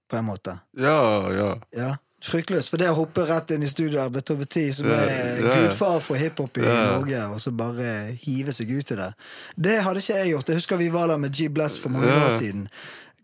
på en måte. Ja, ja. Ja. Fryktløs. For det å hoppe rett inn i studioet med Tobbe Tee, som Ja, er ja, ja. gudfar for hiphop i Ja. Norge, og så bare hive seg ut i det, det hadde ikke jeg gjort. Jeg husker vi var der med G Bless for mange Ja. år siden.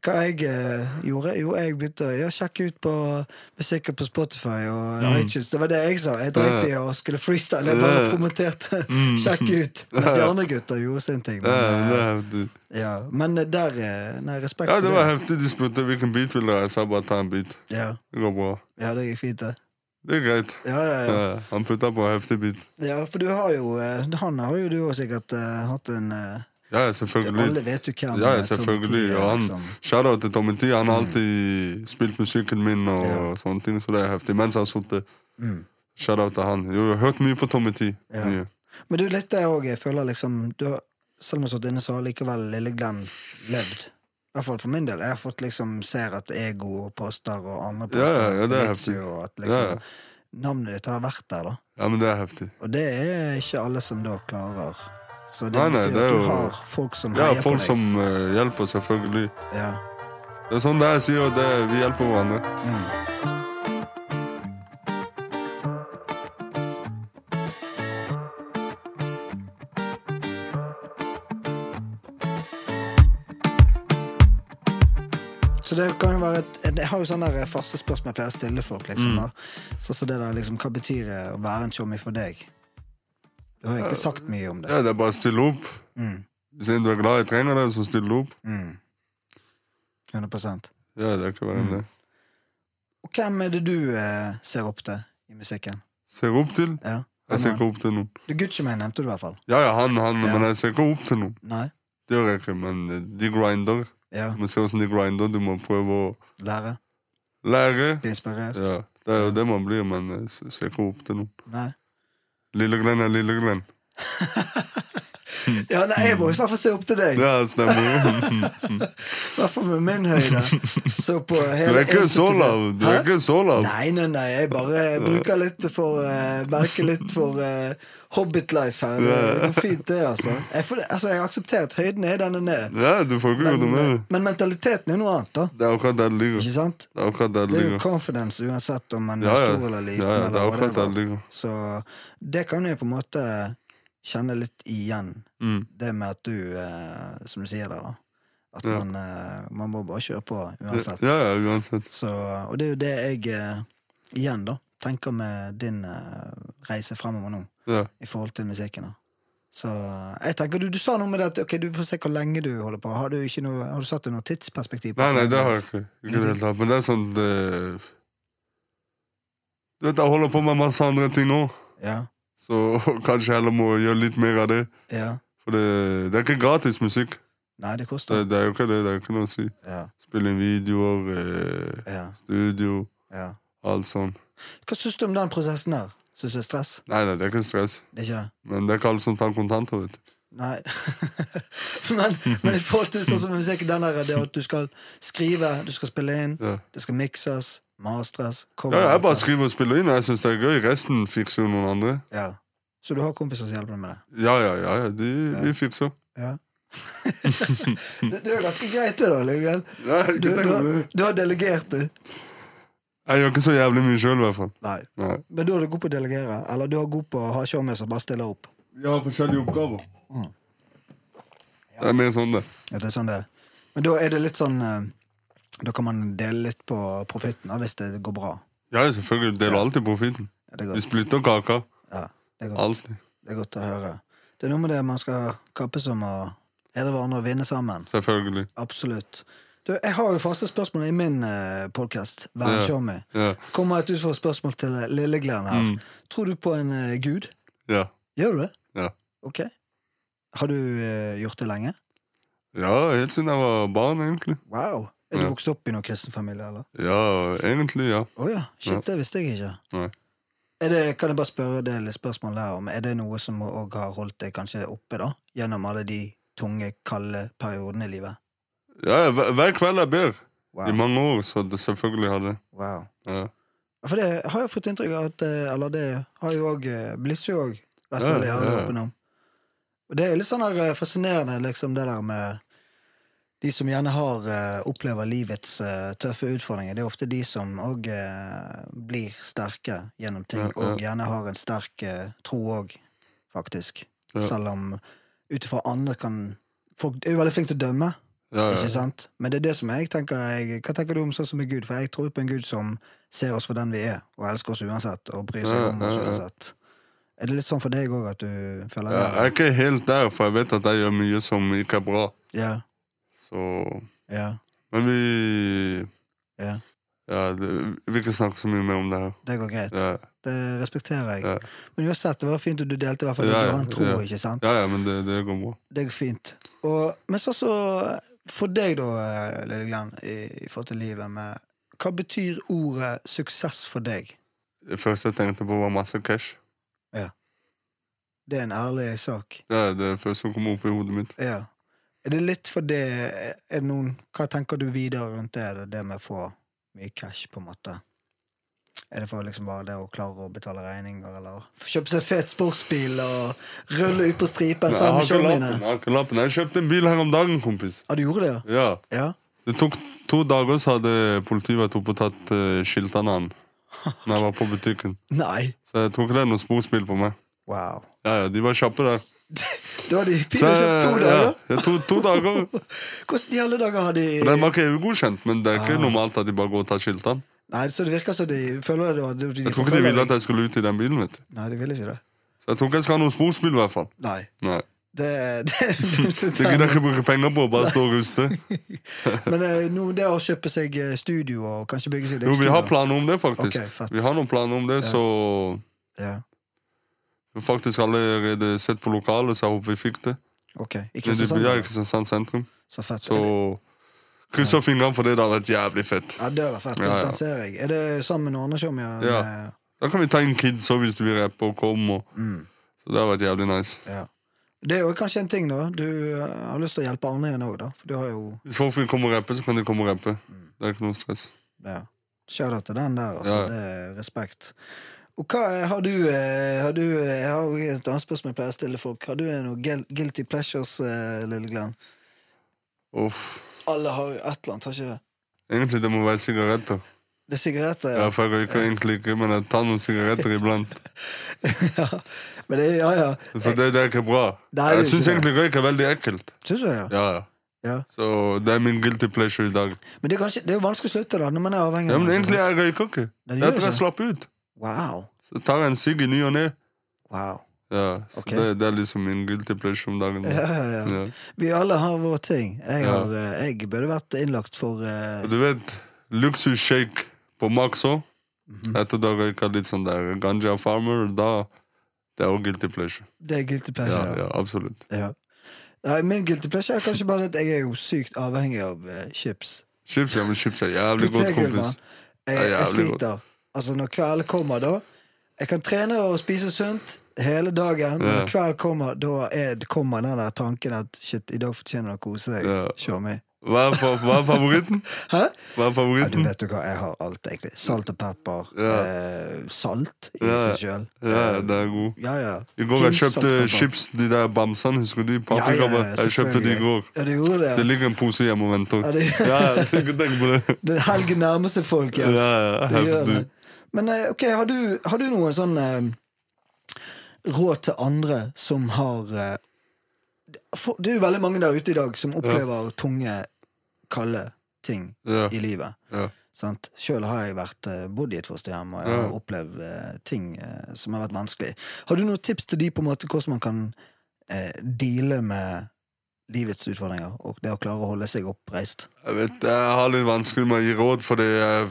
Hva jeg eh, gjorde? Jo, jeg begynte å ja, sjekke ut på musikken på Spotify og iTunes. Det var det jeg sa. Jeg dreit i å skulle freestyle. Jeg bare Mm. Ja. Mm. promoterte 'sjekk ut'. Mens de andre gutta gjorde sin ting. Ja, Men, det, eh, er heftig. ja. men eh, der eh, Nei, respekt ja, for det var heftig. De spurte hvilken beat ville jeg. Jeg sa bare ta en beat. Ja. Det går bra. ja, det gikk fint, det. Det er greit. Ja, ja, ja. Ja, han putta på en heftig beat. Ja, for du har jo eh, Han har jo du òg sikkert eh, hatt en eh, Ja, ja, selvfølgelig. Alle vet jo hvem Ja, eh, ja, selvfølgelig. Tommy Og T er, han, liksom. Mm. Shout-out til Tommy T. Han har alltid spilt musikken min og sånne ting, så det er heftig. Mens jeg har sittet. Mm. Shout-out til han. Jo, jeg har hørt mye på Tommy T. Ja. Mye. Men du, litt det òg. Jeg føler liksom du har, Selv om jeg har sittet inne, så har likevel Lille Glenn levd. I hvert fall for min del. Jeg har fått liksom ser at ego og poster og andre Ja, ja, poster ja, det er vits heftig. jo, og at Ja, liksom ja. Navnet ditt har vært der, da. ja, men det er heftig. Og det er ikke alle som da klarer. Så det Nei, nei, betyr det er at du jo- har folk som Ja, heier folk på deg. som eh, hjelper, selvfølgelig. Ja. Det er sånn det jeg sier, og det, vi hjelper hverandre. Så det kan jo være et, et- Jeg har jo sånne der eh, faste spørsmål jeg pleier å stille folk. liksom Mm. da. Sånn som det der liksom, Hva betyr det å være en tjommi for deg? Du har Øh. egentlig sagt mye om det. Ja, det er bare å stille opp. Mm. Hvis en du er glad i trenger det, så still opp. Mm. 100 Ja, det er ikke Mm. verre enn det. Og hvem er det du eh, ser opp til i musikken? Ser opp til? Ja. Jeg ser Hvem er han? ikke opp til noen. Du Gucci Mane nevnte du i hvert fall. Ja, ja, han, han, Ja. men jeg ser ikke opp til noen. Nei? Det gjør jeg ikke, men eh, de grinder. Ja. Du må se hvordan de grinder, du må prøve å Lære? lære. Bli inspirert? Ja, det er jo det man blir, men jeg s- ser ikke opp til noen. Nei? Lillegren er Lillegren. Ja, nei, jeg må i hvert fall se opp til deg. Ja, stemmer. I hvert fall med min høyde. Så på Du hele er ikke så 1,75. lav. Du Hæ? er ikke så lav. Nei, nei, nei, jeg bare bruker litt for eh, Merker litt for eh, Hobbit-life her. Det går fint, det, altså. Jeg, får, altså. jeg aksepterer at høyden er den den er. Ja, du får ikke gjøre noe med Men, det. men mentaliteten er noe annet, da. Det er akkurat der det ligger. Ikke sant? Det er akkurat der Det det er jo ligger. confidence uansett om man Ja, er ja. stor eller liten. Ja, ja, det er eller akkurat der det whatever. ligger. Så det kan jeg på en måte kjenne litt igjen. Mm. Det med at du, eh, som du sier der, da. At Ja. man, eh, man må bare kjøre på Ja, uansett. ja, uansett. Så, og det er jo det jeg eh, igjen da tenker med din eh, reise fremover nå, Ja. i forhold til musikken. da så eh, jeg tenker, Du, du sa noe med det at ok, du får se hvor lenge du holder på. Har du, ikke noe, har du satt deg noe tidsperspektiv? på Nei, nei, det? det har jeg ikke. Ikke i det hele tatt. Men det er sånn det... Du vet, jeg holder på med masse andre ting nå, Ja, så kanskje jeg heller må gjøre litt mer av det. ja. For det, det er ikke gratis musikk. Nei, det Det, koster. det er jo ikke det. Det er ikke noe å si. Ja, Spille inn videoer, eh, ja, studio, ja. alt sånn. Hva syns du om den prosessen der? Syns du det er stress? Nei, nei, det er ikke stress. Det er ikke det? Men det er ikke alle som tar kontanter, vet du. Nei. men, men i forhold til sånn som musikk, den der, det at du skal skrive, du skal spille inn, Ja. det skal mikses, mastres, cover Ja, jeg alt bare det. skriver og spiller inn, og jeg syns det er gøy. Resten fikser jo noen andre. Ja. Så du har kompiser som hjelper deg med det? Ja, ja, ja, ja de, de fikser. Ja. det, det er jo ganske greit, det, da, Lillebjørn. Nei, ikke Du, du, tenk på det. har- du har delegert, du. Jeg gjør ikke så jævlig mye sjøl, i hvert fall. Nei. Nei. Men da er du god på å delegere, eller du er god på å ha showmet som bare stiller opp. Vi har forskjellige oppgaver. Mm. Det er mer sånn, det. Ja, det er sånn det er. Men da er det litt sånn eh, Da kan man dele litt på profitten, da, hvis det går bra. Ja, selvfølgelig. Deler alltid profitten. Ja, det er Vi godt. splitter kaka. Ja, det er godt. Alltid. Det er godt å høre. Det er noe med det man skal kappes om å hedre hverandre og vinne sammen. Selvfølgelig. Absolutt. Du, jeg har jo faste spørsmål i min eh, podkast, Vær en Ja. showmy. Ja. Mm. Kommer et utfordret spørsmål til Lilleglenn her. Tror du på en eh, gud? Ja. Gjør du det? Ja. Ok. Har du eh, gjort det lenge? ja, helt siden jeg var barn, egentlig. Wow. Er du Ja. vokst opp i noen kristen familie, eller? Ja, egentlig, ja. Å ja. Shit, Ja. det visste jeg ikke. Nei. Er det, kan jeg bare spørre det litt spørsmål her om, er det noe som òg har holdt deg kanskje oppe, da? Gjennom alle de tunge, kalde periodene i livet? Ja, ja, hver- Hver kveld jeg ber. I Wow. mange år, så det selvfølgelig har det. wow. Ja. Ja, For det har jeg fått inntrykk av at eh, Eller det har jo òg Blitz jo òg vært Ja, veldig ærlig ja, ja. åpen om. Og det er jo litt sånn her eh, fascinerende, liksom, det der med de som gjerne har eh, opplever livets eh, tøffe utfordringer. Det er ofte de som òg eh, blir sterke gjennom ting, Ja, ja. og gjerne har en sterk eh, tro òg, faktisk. Ja. Selv om ut ifra andre kan Folk er jo veldig flinke til å dømme. Ja, ja. Ikke sant? Men det er det som jeg tenker jeg, Hva tenker du om sånn som er Gud? For jeg tror på en Gud som ser oss for den vi er, og elsker oss uansett, og bryr seg Ja, om oss ja, ja. uansett. Er det litt sånn for deg òg at du føler Eh, Ja, Jeg det? er ikke helt der, for jeg vet at jeg gjør mye som ikke er bra. Ja, Så ja, Men vi ja. Ja, det, vi vil ikke snakke så mye mer om det her. Det går greit. Ja, Det respekterer jeg. Ja. Men uansett, det var fint at du delte i hvert fall det Ja, du ja, har en tro, ja. ikke sant? ja, ja men det, det går bra. Det går fint. Og, men så, så for deg, da, eh, Lille Glenn, i, i forhold til livet med Hva betyr ordet suksess for deg? Det første jeg tenkte på, var masse cash. Det er en ærlig sak. Det er det første som kom opp i hodet mitt. Ja. Er det litt for det er det noen, Hva tenker du videre rundt det? Er det det med å få mye cash, på en måte? Er det for liksom bare det å klare å betale regninger, eller få kjøpe seg fet sportsbil og rulle ut på stripen Nei, jeg sammen har ikke med showmine? lappen. Jeg har ikke lappen. Jeg kjøpte en bil her om dagen, kompis. Ah, du gjorde det, ja? Ja. Ja. Det tok to dager, så hadde politiet vært oppe og tatt eh, skiltene hans. Når jeg var på butikken. Nei. Så jeg tror ikke det er noe sporspill på meg. Wow. Ja, ja, De var kjappe der. Da har de pinlig kjøpt to dager. Ja, to, to dager. Hvordan i alle dager har de Og Den var ikke EU-godkjent, men det er Ah. ikke normalt at de bare går og tar skiltene. Nei, så det virker som de føler det. og de- de Jeg tror ikke de forfølger ville deg. at jeg skulle ut i den bilen. vet du. Nei, de vil ikke det. Så Jeg tror ikke jeg skal ha noen sportsbil, i hvert fall. Nei. Nei. Det, det, Det gidder jeg ikke bruke penger på, bare stå og ruste. Men eh, nå, det å kjøpe seg eh, studio og kanskje bygge seg et Jo, vi har studio. planer om det, faktisk. Ok, fett. Vi har noen planer om det, så Ja, vi har faktisk allerede sett på lokalet, så jeg håper vi fikk det. ok. I Men det blir ja, i Kristiansand? Kristiansand sentrum. Så fett. Så krysser fingrene for det, det har vært jævlig fett. Ja, det var fett. Ja, ja. Den ser jeg. Er det sammen med Arnesjåmia? Ja. Da kan vi ta inn kids òg, hvis de vil rappe og komme. Og. Mm. Så det har vært jævlig nice. Ja. Det er jo kanskje en ting, da. Du eh, har lyst til å hjelpe Arne igjen òg, da. For du har jo Hvis folk vil komme og rappe, så kan de komme og rappe. Mm. Det er ikke noe stress. ja. Shout out til den der, altså. Ja. Det er respekt. Og hva eh, har du, eh, har du eh, Jeg har jo et annet spørsmål jeg pleier å stille folk. Har du eh, noe guil- guilty pleasures, eh, lille Glenn? Uff. Alle har jo et eller annet, har ikke det? Egentlig det må være sigaretter. Det er sigaretter, Ja, for jeg røyker egentlig ikke, men jeg tar noen sigaretter iblant. ja. Men det, ja, ja. For det, det er ikke bra. Nei, det er Jeg syns ikke det. egentlig røyk er veldig ekkelt. Syns du det? Ja. Ja, ja. Ja. Så det er min guilty pleasure i dag. Men det er, kanskje, det er jo vanskelig å slutte, da, når man er avhengig. Ja, av men noe egentlig sånt. jeg røyker ikke. Nei, du Det er gjør etter ikke. jeg slapp ut. Wow. Så tar jeg en sigg i ny og ne. wow. Ja, så Ok. det, det er liksom min guilty pleasure om dagen. Ja, ja, ja. Ja. Vi alle har våre ting. Jeg, Ja. har, eh, jeg burde vært innlagt for eh, Og Du vet, luksusshake på Max òg. Mhm. Etter da røyka jeg litt sånn der Ganja Farmer, da Det er òg guilty pleasure. Det er guilty Ja, pleasure. Ja, ja, absolutt. Nei, min guilty pleasure er kanskje bare at jeg er jo sykt avhengig av eh, chips. Chips ja, men chips er jævlig godt, Potetgull, kompis. mann. Det Jeg, er jeg jævlig godt. sliter. Altså, når kvelden kommer, da Jeg kan trene og spise sunt hele dagen, men Ja. når kvelden kommer, da er, kommer den der tanken at shit, i dag fortjener du å kose deg. Ja. Show me. Hva er, fa- hva er favoritten? Hæ? Hva er Ja, du favoritten? vet jo hva, jeg har alt, egentlig. Salt og pepper. Mhm. Ja. Eh, salt i Ja. seg sjøl. Ja, det er god. Ja, ja. I går jeg Kun salt og kjøpte pepper. chips, de der bamsene, husker du? i Paprikabba. Jeg kjøpte de i selvfølgelig. går. Ja, du gjorde det. Det ligger en pose hjemme og venter. Ja, det- Ja, ja, så ikke tenk på det. Det er helgen nærmer seg, folkens. Ja, ja, Det gjør heftig. det. Men eh, ok, har du, har du noe sånn eh, råd til andre som har eh, for, Det er jo veldig mange der ute i dag som opplever tunge, kalde ting Ja. i livet. Ja. Sant? Sjøl har jeg vært eh, bodd i et fosterhjem og jeg har Ja. opplevd eh, ting eh, som har vært vanskelig. Har du noen tips til de på en måte hvordan man kan eh, deale med livets utfordringer og det å klare å holde seg oppreist? Jeg vet, jeg har litt vanskelig med å gi råd, fordi jeg,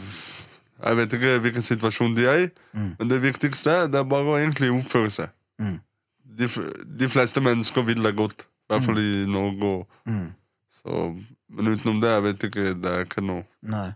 jeg vet ikke hvilken situasjon de er i. Mm. Men det viktigste det er bare å egentlig oppføre seg. Mm. De, f- de fleste mennesker vil deg godt, i hvert fall i Norge. og- Mm. Så, men utenom det, jeg vet ikke, det er ikke noe. Nei.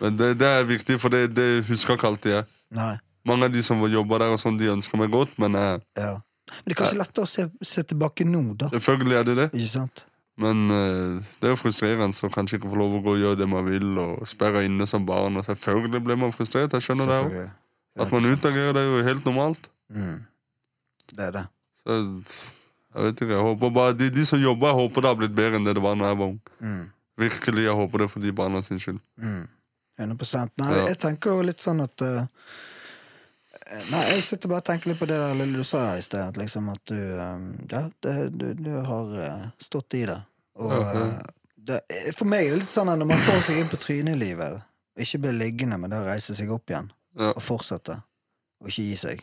Men det, det er viktig, for det, det husker ikke alltid jeg. Nei. Mange av de som jobber der, og sånn, de ønsker meg godt, men eh, jeg, Ja. Men det er kanskje lettere å se, se tilbake nå, da. selvfølgelig er det det. Ikke sant? Men eh, det er jo frustrerende å kanskje ikke få lov å gå og gjøre det man vil, og sperre inne som barn. og Selvfølgelig blir man frustrert. jeg skjønner det også. Selvfølgelig. At man utagerer, det er jo helt normalt. Mm. Det er det. Så jeg vet ikke, jeg håper bare De, de som jobber, jeg håper det har blitt bedre enn det det var da jeg var ung. Mm. Virkelig, jeg håper det for de barna sin skyld. Mm. 100 Nei, Ja. jeg tenker jo litt sånn at eh, Nei, jeg sitter bare og tenker litt på det der lille du sa her i sted, at liksom at du eh, Ja, det, du, du har eh, stått i det. Og Ja, ja. eh, det, for meg er det litt sånn at når man får seg inn på trynet i livet, og ikke blir liggende, men da reise seg opp igjen Ja. og fortsette, og ikke gi seg.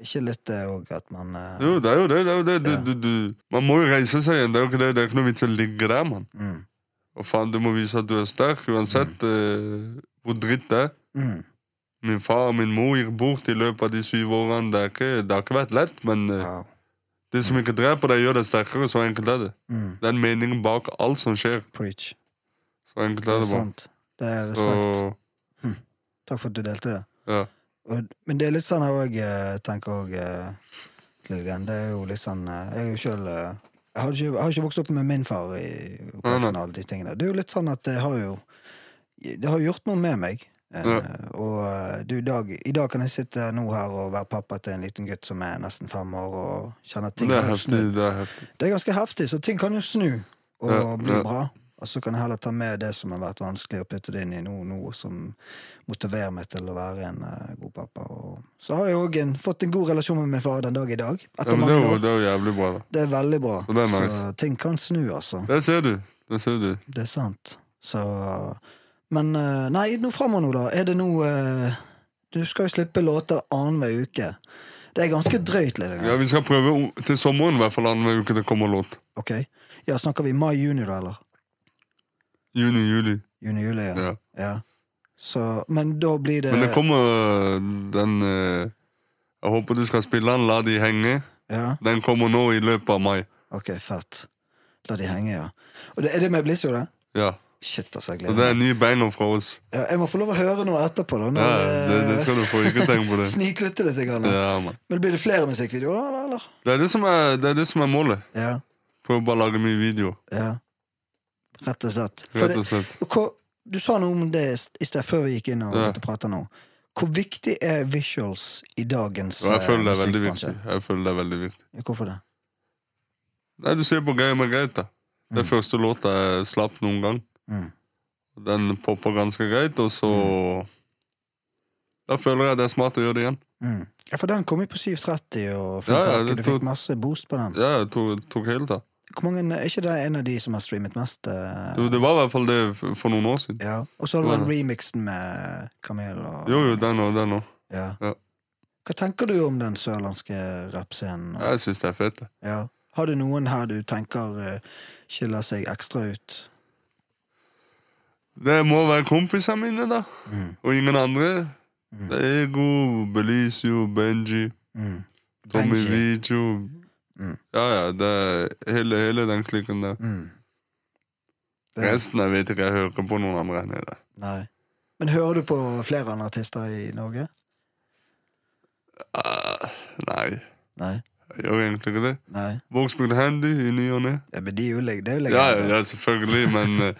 Ikke litt det òg at man eh, Jo, det er jo det. det, er jo det. Du, du, du, man må jo reise seg igjen. Det er jo ikke, det, det er ikke noe vits å ligge der, mann. mm, Og faen, du må vise at du er sterk, uansett eh, hvor dritt det er. mm, Min far og min mor gikk bort i løpet av de syv årene. Det, er ikke, det har ikke vært lett, men eh, wow, det som ikke dreper deg, gjør deg sterkere. Så enkelt er det. mm, Det er en mening bak alt som skjer. Preach. Så enkelt er Det er det bare. sant. Det er respekt. Så, Takk for at du delte det. ja. Og, men det er litt sånn jeg òg eh, tenker òg Det er jo litt sånn eh, Jeg er jo sjøl jeg har, ikke, jeg har ikke vokst opp med min far i oppveksten. og alle de tingene. Det er jo litt sånn at det har jo Det har jo gjort noe med meg. Eh, Ja. Og eh, du, i dag, i dag kan jeg sitte nå her og være pappa til en liten gutt som er nesten fem år, og kjenne at ting Det er har jo heftig. snudd. Det er heftig. Det er ganske heftig, så ting kan jo snu og Ja, bli ja. bra. Og så kan jeg heller ta med det som har vært vanskelig, og putte det inn i noe nå som motiverer meg til å være en eh, god pappa og så har jeg òg en- fått en god relasjon med min far den dag i dag. Ja, Etter men det mange er jo, år. det er jo jævlig bra, da. Det er veldig bra. Så det er Så, nice. ting kan snu, altså. Der ser du. Der ser du. Det er sant. Så Men eh, nei, nå framover nå, da. Er det nå eh, Du skal jo slippe låter annenhver uke. Det er ganske drøyt, litt. Ja, Vi skal prøve o- til sommeren, i hvert fall annenhver uke det kommer låt. Ok? Ja, snakker vi mai-juni, da, eller? Juni, juli. Juni-juli, ja. Ja. ja. Så, men da blir det, Men det kommer øh, den øh, Jeg håper du skal spille den, La de henge. Ja, Den kommer nå i løpet av mai. ok, fett. La de henge, ja. Og det, er det med Blizzard, det? Ja, Shit, altså, jeg Så det gleder er meg. nye banger fra oss. Ja, jeg må få lov å høre noe etterpå, da. Ja, Når, eh, det, det skal du få. Ikke tenk på det. Sniklytte litt. Grann, da. Ja, man. Men blir det flere musikkvideoer, da, eller? Det er det som er, det er, det som er målet. Ja, Prøve å bare lage mye video. ja. Rett og slett. For Rett og slett. det, hva, du sa noe om det i sted før vi gikk inn og Ja. begynte å prate nå. Hvor viktig er visuals i dagens Og jeg eh, føler det er veldig musikkbransje? viktig. Jeg føler det er veldig viktig. Hvorfor det? Nei, du ser på Geir Margrethe. Det er første låta jeg slapp noen gang. Mm. Den popper ganske greit, og så Da føler jeg det er smart å gjøre det igjen. Mm. Ja, for den kom jo på 7.30, og Ja, ja, Finn Bakke, det du tok- fikk masse boost på den. Ja, jeg tok, tok helt av. Hvor mange, er ikke det en av de som har streamet mest? eh? Jo, Det var i hvert fall det f- for noen år siden. Ja. Og så har du Ja. den remixen med Kamel og Jo, jo, den og den òg. Ja. Ja. Hva tenker du om den sørlandske rappscenen? og- Jeg syns det er fett. det. Ja. Har du noen her du tenker eh, skiller seg ekstra ut? Det må være kompisene mine, da. Mm. Og ingen andre. Mm. Det er Ego, Belizio, Benji, Mm. Tommy Benji. Vigio Mm. Ja, ja, det er hele, hele den klikken der. Mm. Det, Resten jeg vet ikke jeg hører på noen andre enn det. nei. Men hører du på flere andre artister i Norge? Ah, nei, Nei. jeg gjør egentlig ikke det. Nei. Vågsbygd Handy i ny og ne. Ja, men de er jo leg- det er jo Ja, legender. ja, selvfølgelig, men eh,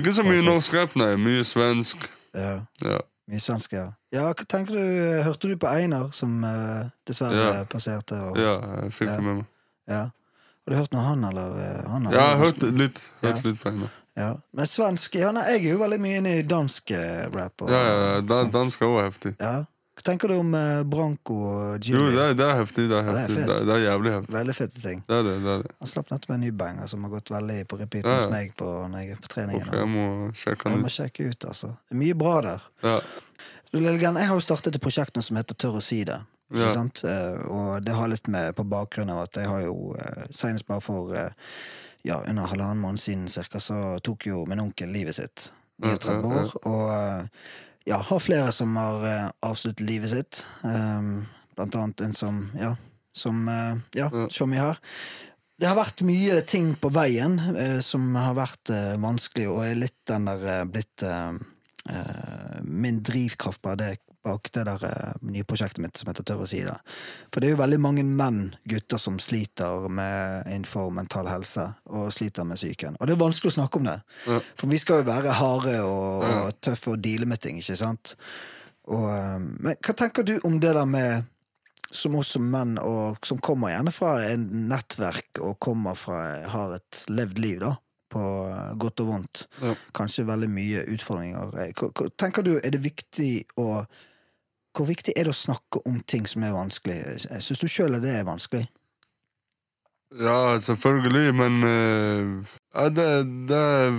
ikke så mye norsk rap, nei. Mye svensk. Ja. Ja. Mye svensk, ja. Ja, hva tenker du, Hørte du på Einar, som eh, dessverre Ja. passerte? Og, ja. Ja, jeg fikk det med meg. Har du hørt noe han, eller? eh, Han, Ja, har- jeg har hørt litt, hørt litt på henne. Ja. Men svensk ja, nei, Jeg er jo veldig mye inne i dansk eh, rap. Og, Ja, ja, da- sånt. dansk er også heftig. Ja. Hva tenker du om eh, Branko og Jo, det Jilly? er, det er heftig. Det er det er heftig. fett. Det er, det er jævlig heftig. Veldig fete ting. Det er det. det er det. Han slapp nettopp en ny banger som har gått veldig på repeat Ja, ja. hos meg på, når jeg er på treningen. Ok, jeg må sjekke Jeg den må ut. sjekke ut, altså. Det er mye bra der. Ja, Du, Lillegren, jeg har jo startet et prosjekt nå som heter Tør å si det. Ikke Ja. sant? Eh, Og det har litt med på bakgrunn av at jeg har jo eh, senest bare for eh, ja, under halvannen måned siden cirka, så tok jo min onkel livet sitt. Ja, 39 ja, ja. år. Og eh, ja, har flere som har eh, avsluttet livet sitt. Ehm, Blant annet en som ja, som eh, ja, Ja. Tjommi her. Det har vært mye ting på veien eh, som har vært eh, vanskelig, og er litt den der eh, blitt eh, eh, min drivkraft bare det, bak det der eh, nye prosjektet mitt som heter Tør å si det. For det er jo veldig mange menn, gutter, som sliter med innenfor mental helse og sliter med psyken. Og det er vanskelig å snakke om det. Ja. For vi skal jo være harde og, Ja. og tøffe og deale med ting, ikke sant? Og, eh, men hva tenker du om det der med som oss som menn, og som kommer gjerne fra en nettverk og kommer fra, har et levd liv, da, på eh, godt og vondt. Ja. Kanskje veldig mye utfordringer. Eh, hva- hva- Tenker du, er det viktig å Hvor viktig er det å snakke om ting som er vanskelig? Eh, Syns du sjøl det er vanskelig? ja selvfølgelig, men eh, ja, det, det er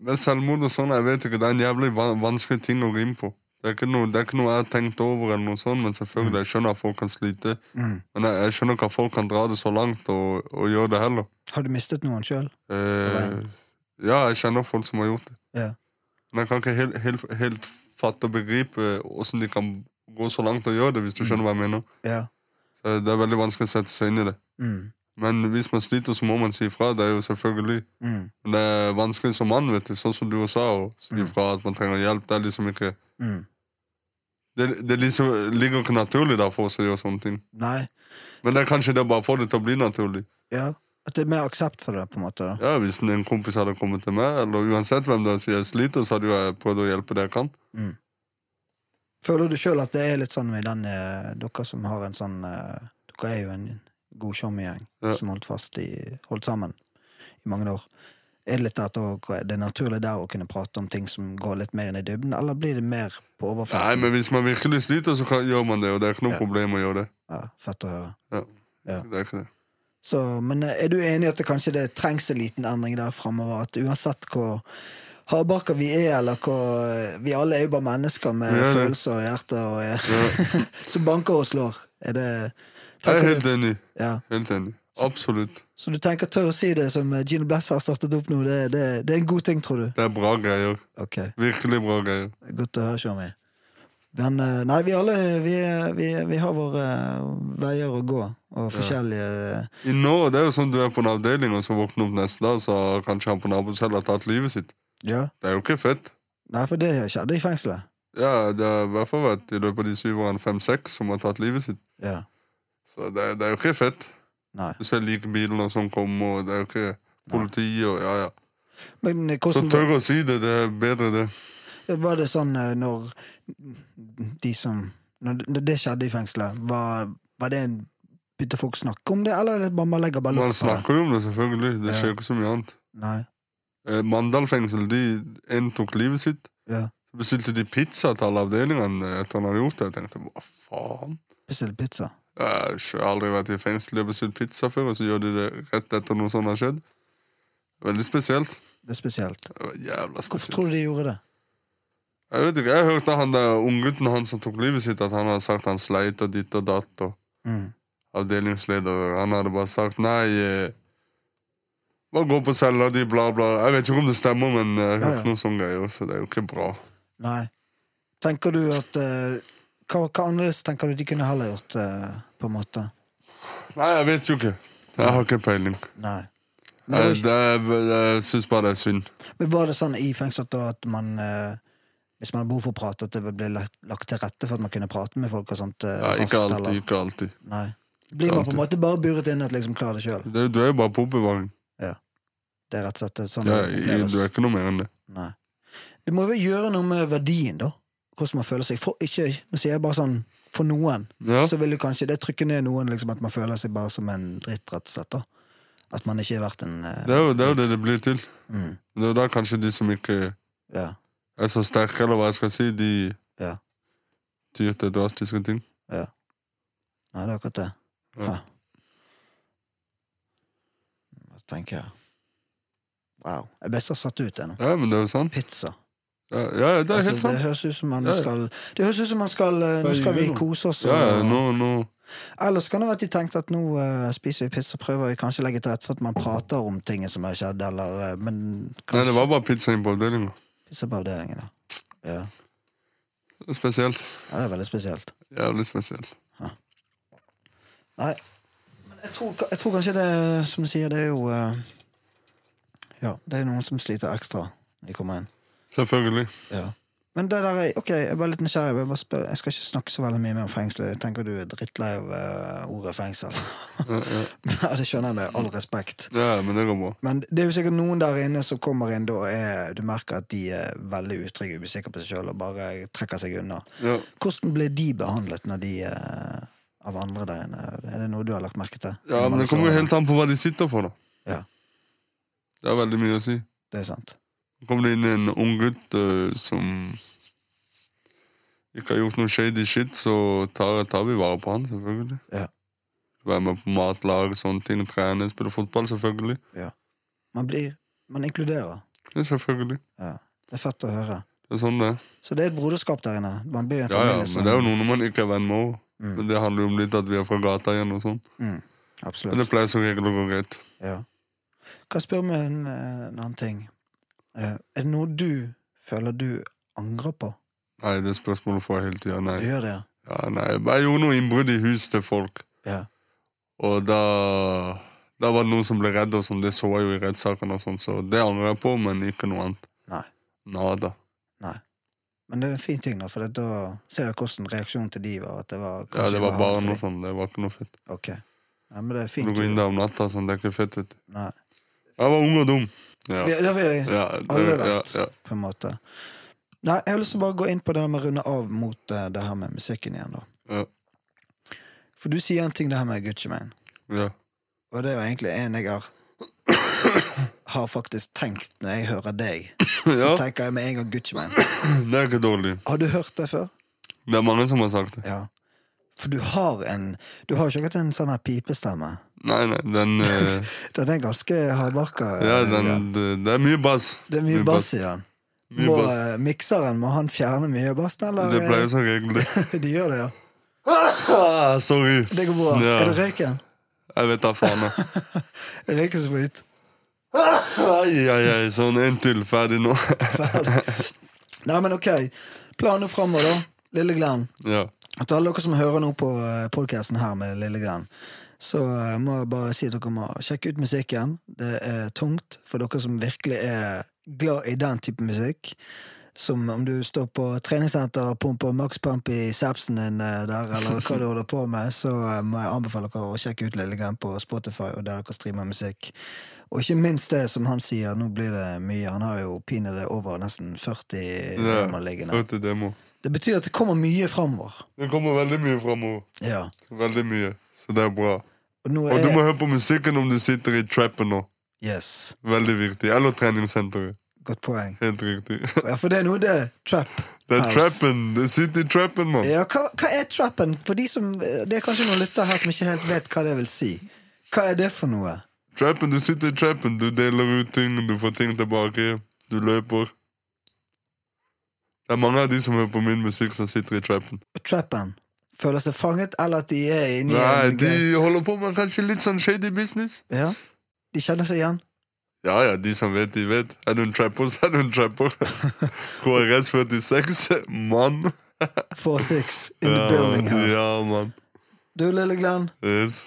Med selvmord og sånn, jeg vet ikke, det er en jævlig van vanskelig ting å rime på. Det er, ikke noe, det er ikke noe jeg har tenkt over, eller noe sånt, men selvfølgelig, jeg skjønner at folk kan slite. Mm. Men jeg, jeg skjønner ikke at folk kan dra det så langt og, og gjøre det heller. Har du mistet noen sjøl? Eh, ja, jeg kjenner folk som har gjort det. Ja. Men jeg kan ikke helt, helt, helt fatte og begripe åssen de kan gå så langt og gjøre det, hvis du skjønner hva jeg mener. Ja. Så det er veldig vanskelig å sette seg inn i det. Mm. Men hvis man sliter, så må man si ifra. Det er jo selvfølgelig Mm. Men det er vanskelig som mann, vet du, sånn som du også sa, å si ifra at man trenger hjelp. Det er liksom ikke Mm. det, det er liksom, ligger ikke naturlig der for oss å gjøre sånne ting. Nei. Men det er kanskje det å bare å få det til å bli naturlig. Ja. At det er mer aksept for det, på en måte? da. Ja, Hvis en kompis hadde kommet til meg, eller uansett hvem det er som jeg sliter, så hadde jo jeg prøvd å hjelpe det jeg kan. Føler du sjøl at det er litt sånn med den eh, Dere som har en sånn eh, Dere er jo en god showmegjeng Ja. som holdt fast i Holdt sammen i mange år. Er det litt at å- det er naturlig der å kunne prate om ting som går litt mer inn i dybden, eller blir det mer på Nei, overflaten? men hvis man virkelig sliter, så kan, gjør man det, og det er ikke noe Ja. problem å gjøre det. Ja, fett å høre. Ja. Ja. Det er ikke det. Så, men eh, er du enig i at det kanskje det trengs en liten endring der framover? At uansett hvor hardbarka vi er, eller hvor eh, Vi alle er jo bare mennesker med Vi er det. følelser og hjerter og som banker og slår. Er det Jeg tenker er du- helt enig. ja. Helt enig. Absolutt. Så du tenker tør å si det som eh, Gino Bless har startet opp nå, det, det, det er en god ting, tror du? Det er bra greier. Ok, Virkelig bra greier. Godt å høre, Shami. Men eh, nei, vi alle vi, vi, vi har våre eh, veier å gå, og forskjellige eh, I nå, det er jo sånn du er på en avdeling, og så våkner du opp neste dag, så har kanskje han på nabocellet har tatt livet sitt. Ja. Det er jo ikke fett. Nei, for det skjedde i fengselet. Ja, det har i hvert fall vært i løpet av de syv årene fem-seks som har tatt livet sitt. Ja. Så det, det er jo ikke fett. Nei. Du ser likebilen og sånn komme, og det er jo ikke politi og ja, ja. Men eh, Så hvordan tør å si det, det er bedre det. Var det sånn eh, når de som Når det- når det skjedde i fengselet, var, var det en Begynte folk å snakke om det, eller bare man legger bare Man lokk på det? snakker jo om det, selvfølgelig. Det skjer ikke så mye annet. Nei. Eh, Mandal fengsel, de en tok livet sitt. Ja. Så bestilte de pizza til alle avdelingene etter han hadde gjort det. Jeg tenkte, hva faen? Bestill pizza. Jeg har ikke- aldri vært i fengsel og bestilt pizza før, og så gjør de det rett etter noe sånt har skjedd. Veldig spesielt. Det er spesielt. Det var Jævla Hvorfor spesielt. tror du de gjorde det? Jeg vet ikke, jeg hørte han der unggutten han som tok livet sitt, at han hadde sagt han sleit og ditt og datt, og Mm. avdelingsleder, han hadde bare sagt nei, eh, bare gå på cella di, bla bla. Jeg vet ikke om det stemmer, men eh, jeg Ja, hørte ja. noen sånne greier, så det er jo ikke bra. Nei. Tenker du at eh, hva, hva annerledes tenker du de kunne heller gjort, eh, på en måte? Nei, jeg vet jo ikke. Jeg har ikke peiling. Nei. Men, det var, Jeg, ikke- det, er- jeg syns bare det er synd. men var det sånn i fengselet da at man eh, hvis man har behov for å prate, at det ble lagt, lagt til rette for at man kunne prate med folk? og sånt eh, Ja, ikke raskt, alltid, eller? ikke alltid. Nei. Blir man på Alltid. en måte bare buret inn at liksom klarer det sjøl? Det, du er jo bare på oppbevaring. Det er rett og slett sånn Ja, det i- oppleves. du er ikke noe mer enn det. Nei. Det må vel gjøre noe med verdien, da? Hvordan man føler seg. For, ikke, nå sier jeg bare sånn for noen, Ja. så vil du kanskje det trykke ned noen, liksom, at man føler seg bare som en dritt, rett og slett. da. At man ikke er verdt en eh, Det er jo det er jo det, det blir til. mm, Det er jo da kanskje de som ikke ja. er så sterke, eller hva jeg skal si, de Ja. tyr til drastiske ting. Nei, det er akkurat det. Ja. Ja. Hva tenker jeg Wow. Jeg ble så satt ut ennå. Ja, men det er jo sant. Pizza. Ja, ja det er helt altså, det sant. høres ut som man Ja, ja. skal Det høres ut som man skal eh, Nå Hva skal vi gjør du? kose oss. Ja, ja, og- nå, nå. Ellers kan det være at de tenkte at nå eh, spiser vi pizza og prøver vi kanskje å legge til rette for at man prater om ting som har skjedd, eller eh, Men Nei, kanskje det var bare pizza inn på avdelinga. pizza på avdelingen, da. Ja. Spesielt. ja, det er veldig spesielt. Jævlig spesielt. Nei. Men jeg tror, jeg tror kanskje det, som du sier, det er jo eh, Ja, det er noen som sliter ekstra når de kommer inn. Selvfølgelig. Men det der er, ok, jeg er bare litt nysgjerrig. Jeg, vil bare spørre- jeg skal ikke snakke så veldig mye mer om fengsel. Jeg tenker du er drittlei av eh, ordet fengsel. ja, det skjønner jeg med all respekt. Ja, men det går bra. Men det er jo sikkert noen der inne som kommer inn da og er, du merker at de er veldig utrygge og usikre på seg sjøl og bare trekker seg unna. Ja. Hvordan ble de behandlet når de eh, av andre der inne? Er det noe du har lagt merke til? ja, men det kommer jo helt an på hva de sitter for, da. Ja. Det er veldig mye å si. Det er sant. Så kom det inn en ung gutt eh, som ikke har gjort noe shady shit, så tar, tar vi vare på han, selvfølgelig. Ja. Være med på matlag, sånne ting, trene, spille fotball, selvfølgelig. Man blir Man inkluderer. Ja, selvfølgelig. Ja. Det er fett å høre. Det er sånn det er. Så det er et broderskap der inne. Man blir en Ja, ja, familie men det er jo noen man ikke er venn med òg. Men det handler jo om litt at vi er fra gata igjen og sånn. Mm, Men det absolutt. pleier som regel å gå greit. Ja. Kan jeg spørre om en, eh, en annen ting? Eh, Er det noe du føler du angrer på? Nei, det spørsmålet får jeg hele tida. Nei. Du gjør det, ja? Ja, nei. Jeg gjorde noe innbrudd i hus til folk, Ja. og da da var det noen som ble redd, og sånn. det så jeg jo i rettssakene, og sånn, så det angrer jeg på, men ikke noe annet. Nei. Nada. Men det er en fin ting, da, for det- da ser jeg hvordan reaksjonen til de var. At det var Ja, kanskje det var ubehagelig barn og for de. sånn. Det var ikke noe fett. Ok. Ja, men det er Du fint. går inn jo. der om natta og sånn. Det er ikke fett, vet du. Nei. Jeg var ung og dum. Ja. Vi- Det har vi ja, det, alle ja, vært, ja. på en måte. Nei, jeg har lyst til å bare gå inn på det der med å runde av mot eh, det her med musikken igjen, da. Ja. For du sier en ting, det her med Gucci Mane. ja. Og det er jo egentlig en jeg har har faktisk tenkt når jeg hører deg. Så Ja. tenker jeg med en gang Gucci Man. Det er ikke dårlig. Har du hørt det før? Det er mange som har sagt det. Ja. For du har en Du har jo ikke akkurat en sånn her pipestemme. Nei, nei, den eh, Den er ganske hardbarka. Ja, eh, den ja. Det, det er mye bass. Det er mye bass i den. Mye Må, bass. eh, mikseren, må han fjerne mye av bassen, eller? Det pleier som regel det. eh, De gjør det, ja. Ah, sorry. Det går bra. Ja. Er det røyken? Jeg vet da faen. jeg. Røyken som får ut. Ai, ai, ai. Sånn, en til. Ferdig nå. Nei, men ok. Planen framover, da. Lille Glenn. ja. Og Til alle dere som hører nå på podkasten her med Lille Glenn, så eh, må jeg bare si at dere må sjekke ut musikken. Det er tungt for dere som virkelig er glad i den type musikk. Som om du står på treningssenter og pumper makspump i sepsen din eh, der, eller hva du holder på med, så eh, må jeg anbefale dere å sjekke ut Lille Glenn på Spotify og der dere streamer musikk. Og ikke minst det som han sier, nå blir det mye. Han har jo pinadø over nesten 40 Ja. nummer liggende. Hørte demo. Det betyr at det kommer mye framover. Det kommer veldig mye framover. Ja. Veldig mye. Så det er bra. Og nå Og du er må høre på musikken om du sitter i trappen nå. Yes, Veldig viktig. Eller treningssenteret. godt poeng. Helt riktig. Ja, for det er noe det er trap. Det er house. trappen. Det sitter i trappen, mann. Ja, hva, hva er trappen? For de som, Det er kanskje noen lyttere her som ikke helt vet hva det vil si. Hva er det for noe? Trappen, Du sitter i trappen. Du deler ut ting, du får ting tilbake. Du løper. Det er mange av de som hører på min musikk, som sitter i trappen. Trappen? Føler seg fanget, eller at de er inni Nei, en de holder på med kanskje litt sånn shady business. Ja, De kjenner seg igjen? Ja ja, de som vet, de vet. Er du en trapper, så er du en trapper. KRS 46, mann. 4-6 in the building Ja, her. ja mann. Du, lille Glenn. Yes.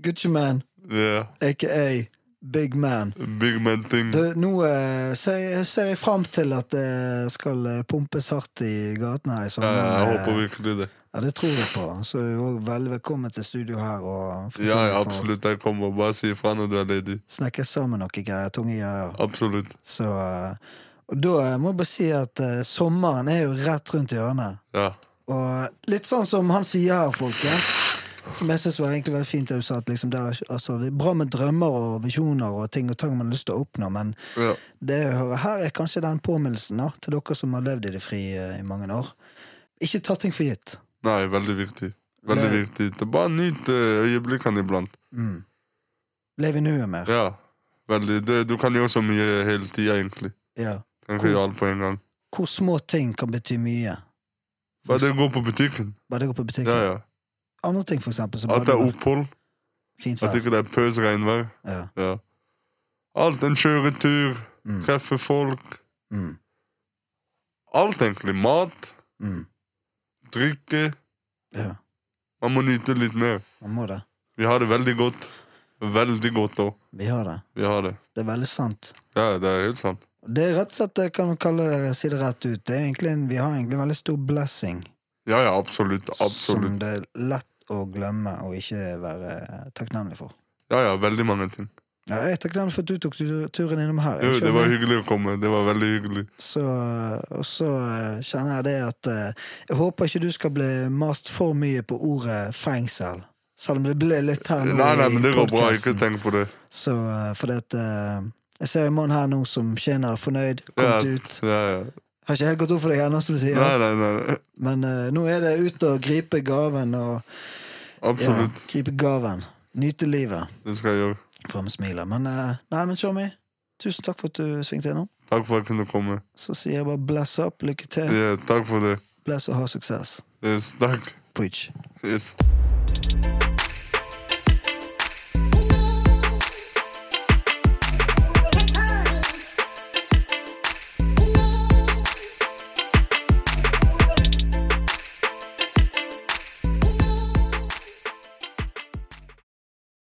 Gucci Man, Yeah. aka Big Man. Big man thing. Du, nå eh, ser, jeg- ser jeg fram til at det skal eh, pumpes hardt i gatene her i Ja, sommer. ja, jeg med- håper virkelig det. Ja, det tror jeg på. Så er du òg veldig velkommen til studio her og for å Ja, ja, for- absolutt. Jeg kommer. Bare si ifra når du er ledig. snakke sammen noe greier, tunge greier. Absolutt. Så eh, Og da eh, må jeg bare si at eh, sommeren er jo rett rundt hjørnet. Ja. Og litt sånn som han sier her, folkens, som jeg syns var egentlig veldig fint det du sa, at liksom det er, altså, det er bra med drømmer og visjoner og ting og tang man har lyst til å oppnå, men ja. det jeg hører her, er kanskje den påminnelsen da, til dere som har levd i det frie eh, i mange år. Ikke ta ting for gitt. Nei, veldig viktig. Veldig Nei. viktig. Det er bare nyt eh, øyeblikkene iblant. Mm. Lev i nuet mer. Ja, veldig. Det, du kan gjøre så mye hele tida, egentlig. Ja. Kan Cool. ikke gjøre alt på en gang. hvor små ting kan bety mye. Bare det går på butikken. Bare det går på butikken. Ja, ja. Andre ting, for eksempel. Som At det er bare- opphold. Fint At vær. ikke det er pøs regnvær. Ja. Ja. Alt. En kjøretur. Mm. Treffe folk. Mm. Alt, egentlig. Mat. Mm. Drikke. ja, Man må nyte litt mer. man må det. Vi har det veldig godt. Veldig godt òg. Vi har det. Vi har det. Det er veldig sant. Ja, det er helt sant. Og Det er rett og slett, jeg kan kalle det, si det rett ut, det er egentlig en, vi har egentlig en veldig stor blessing Ja, ja, absolutt. som Absolutt. det er lett å glemme og ikke være takknemlig for. Ja, ja, veldig mange ting. Ja, jeg er takknemlig for at du tok tu- turen innom her. Jo, Jeg det var skjønner. hyggelig å komme. Det var veldig hyggelig. Så, og så eh, kjenner jeg det at eh, Jeg håper ikke du skal bli mast for mye på ordet fengsel. Selv om det ble litt her nå. Nei, nei, i men det går bra. Ikke podcasten. tenk på det. Så eh, fordi at eh, Jeg ser en mann her nå som tjener fornøyd, Ja, kommet ut. ja, ja. Har ikke helt gått opp for deg ennå, som du sier. Nei, nei, nei. Men eh, nå er det ut og gripe gaven og ja, Absolutt. gripe gaven. Nyte livet. Det skal jeg gjøre. Fram med smilet. Men eh, nei, men Tjommi, tusen takk for at du svingte innom. Takk for at jeg kunne komme. Så sier jeg bare bless up, lykke til, Ja, takk for det. bless og ha suksess. Yes, takk. Preach. Yes.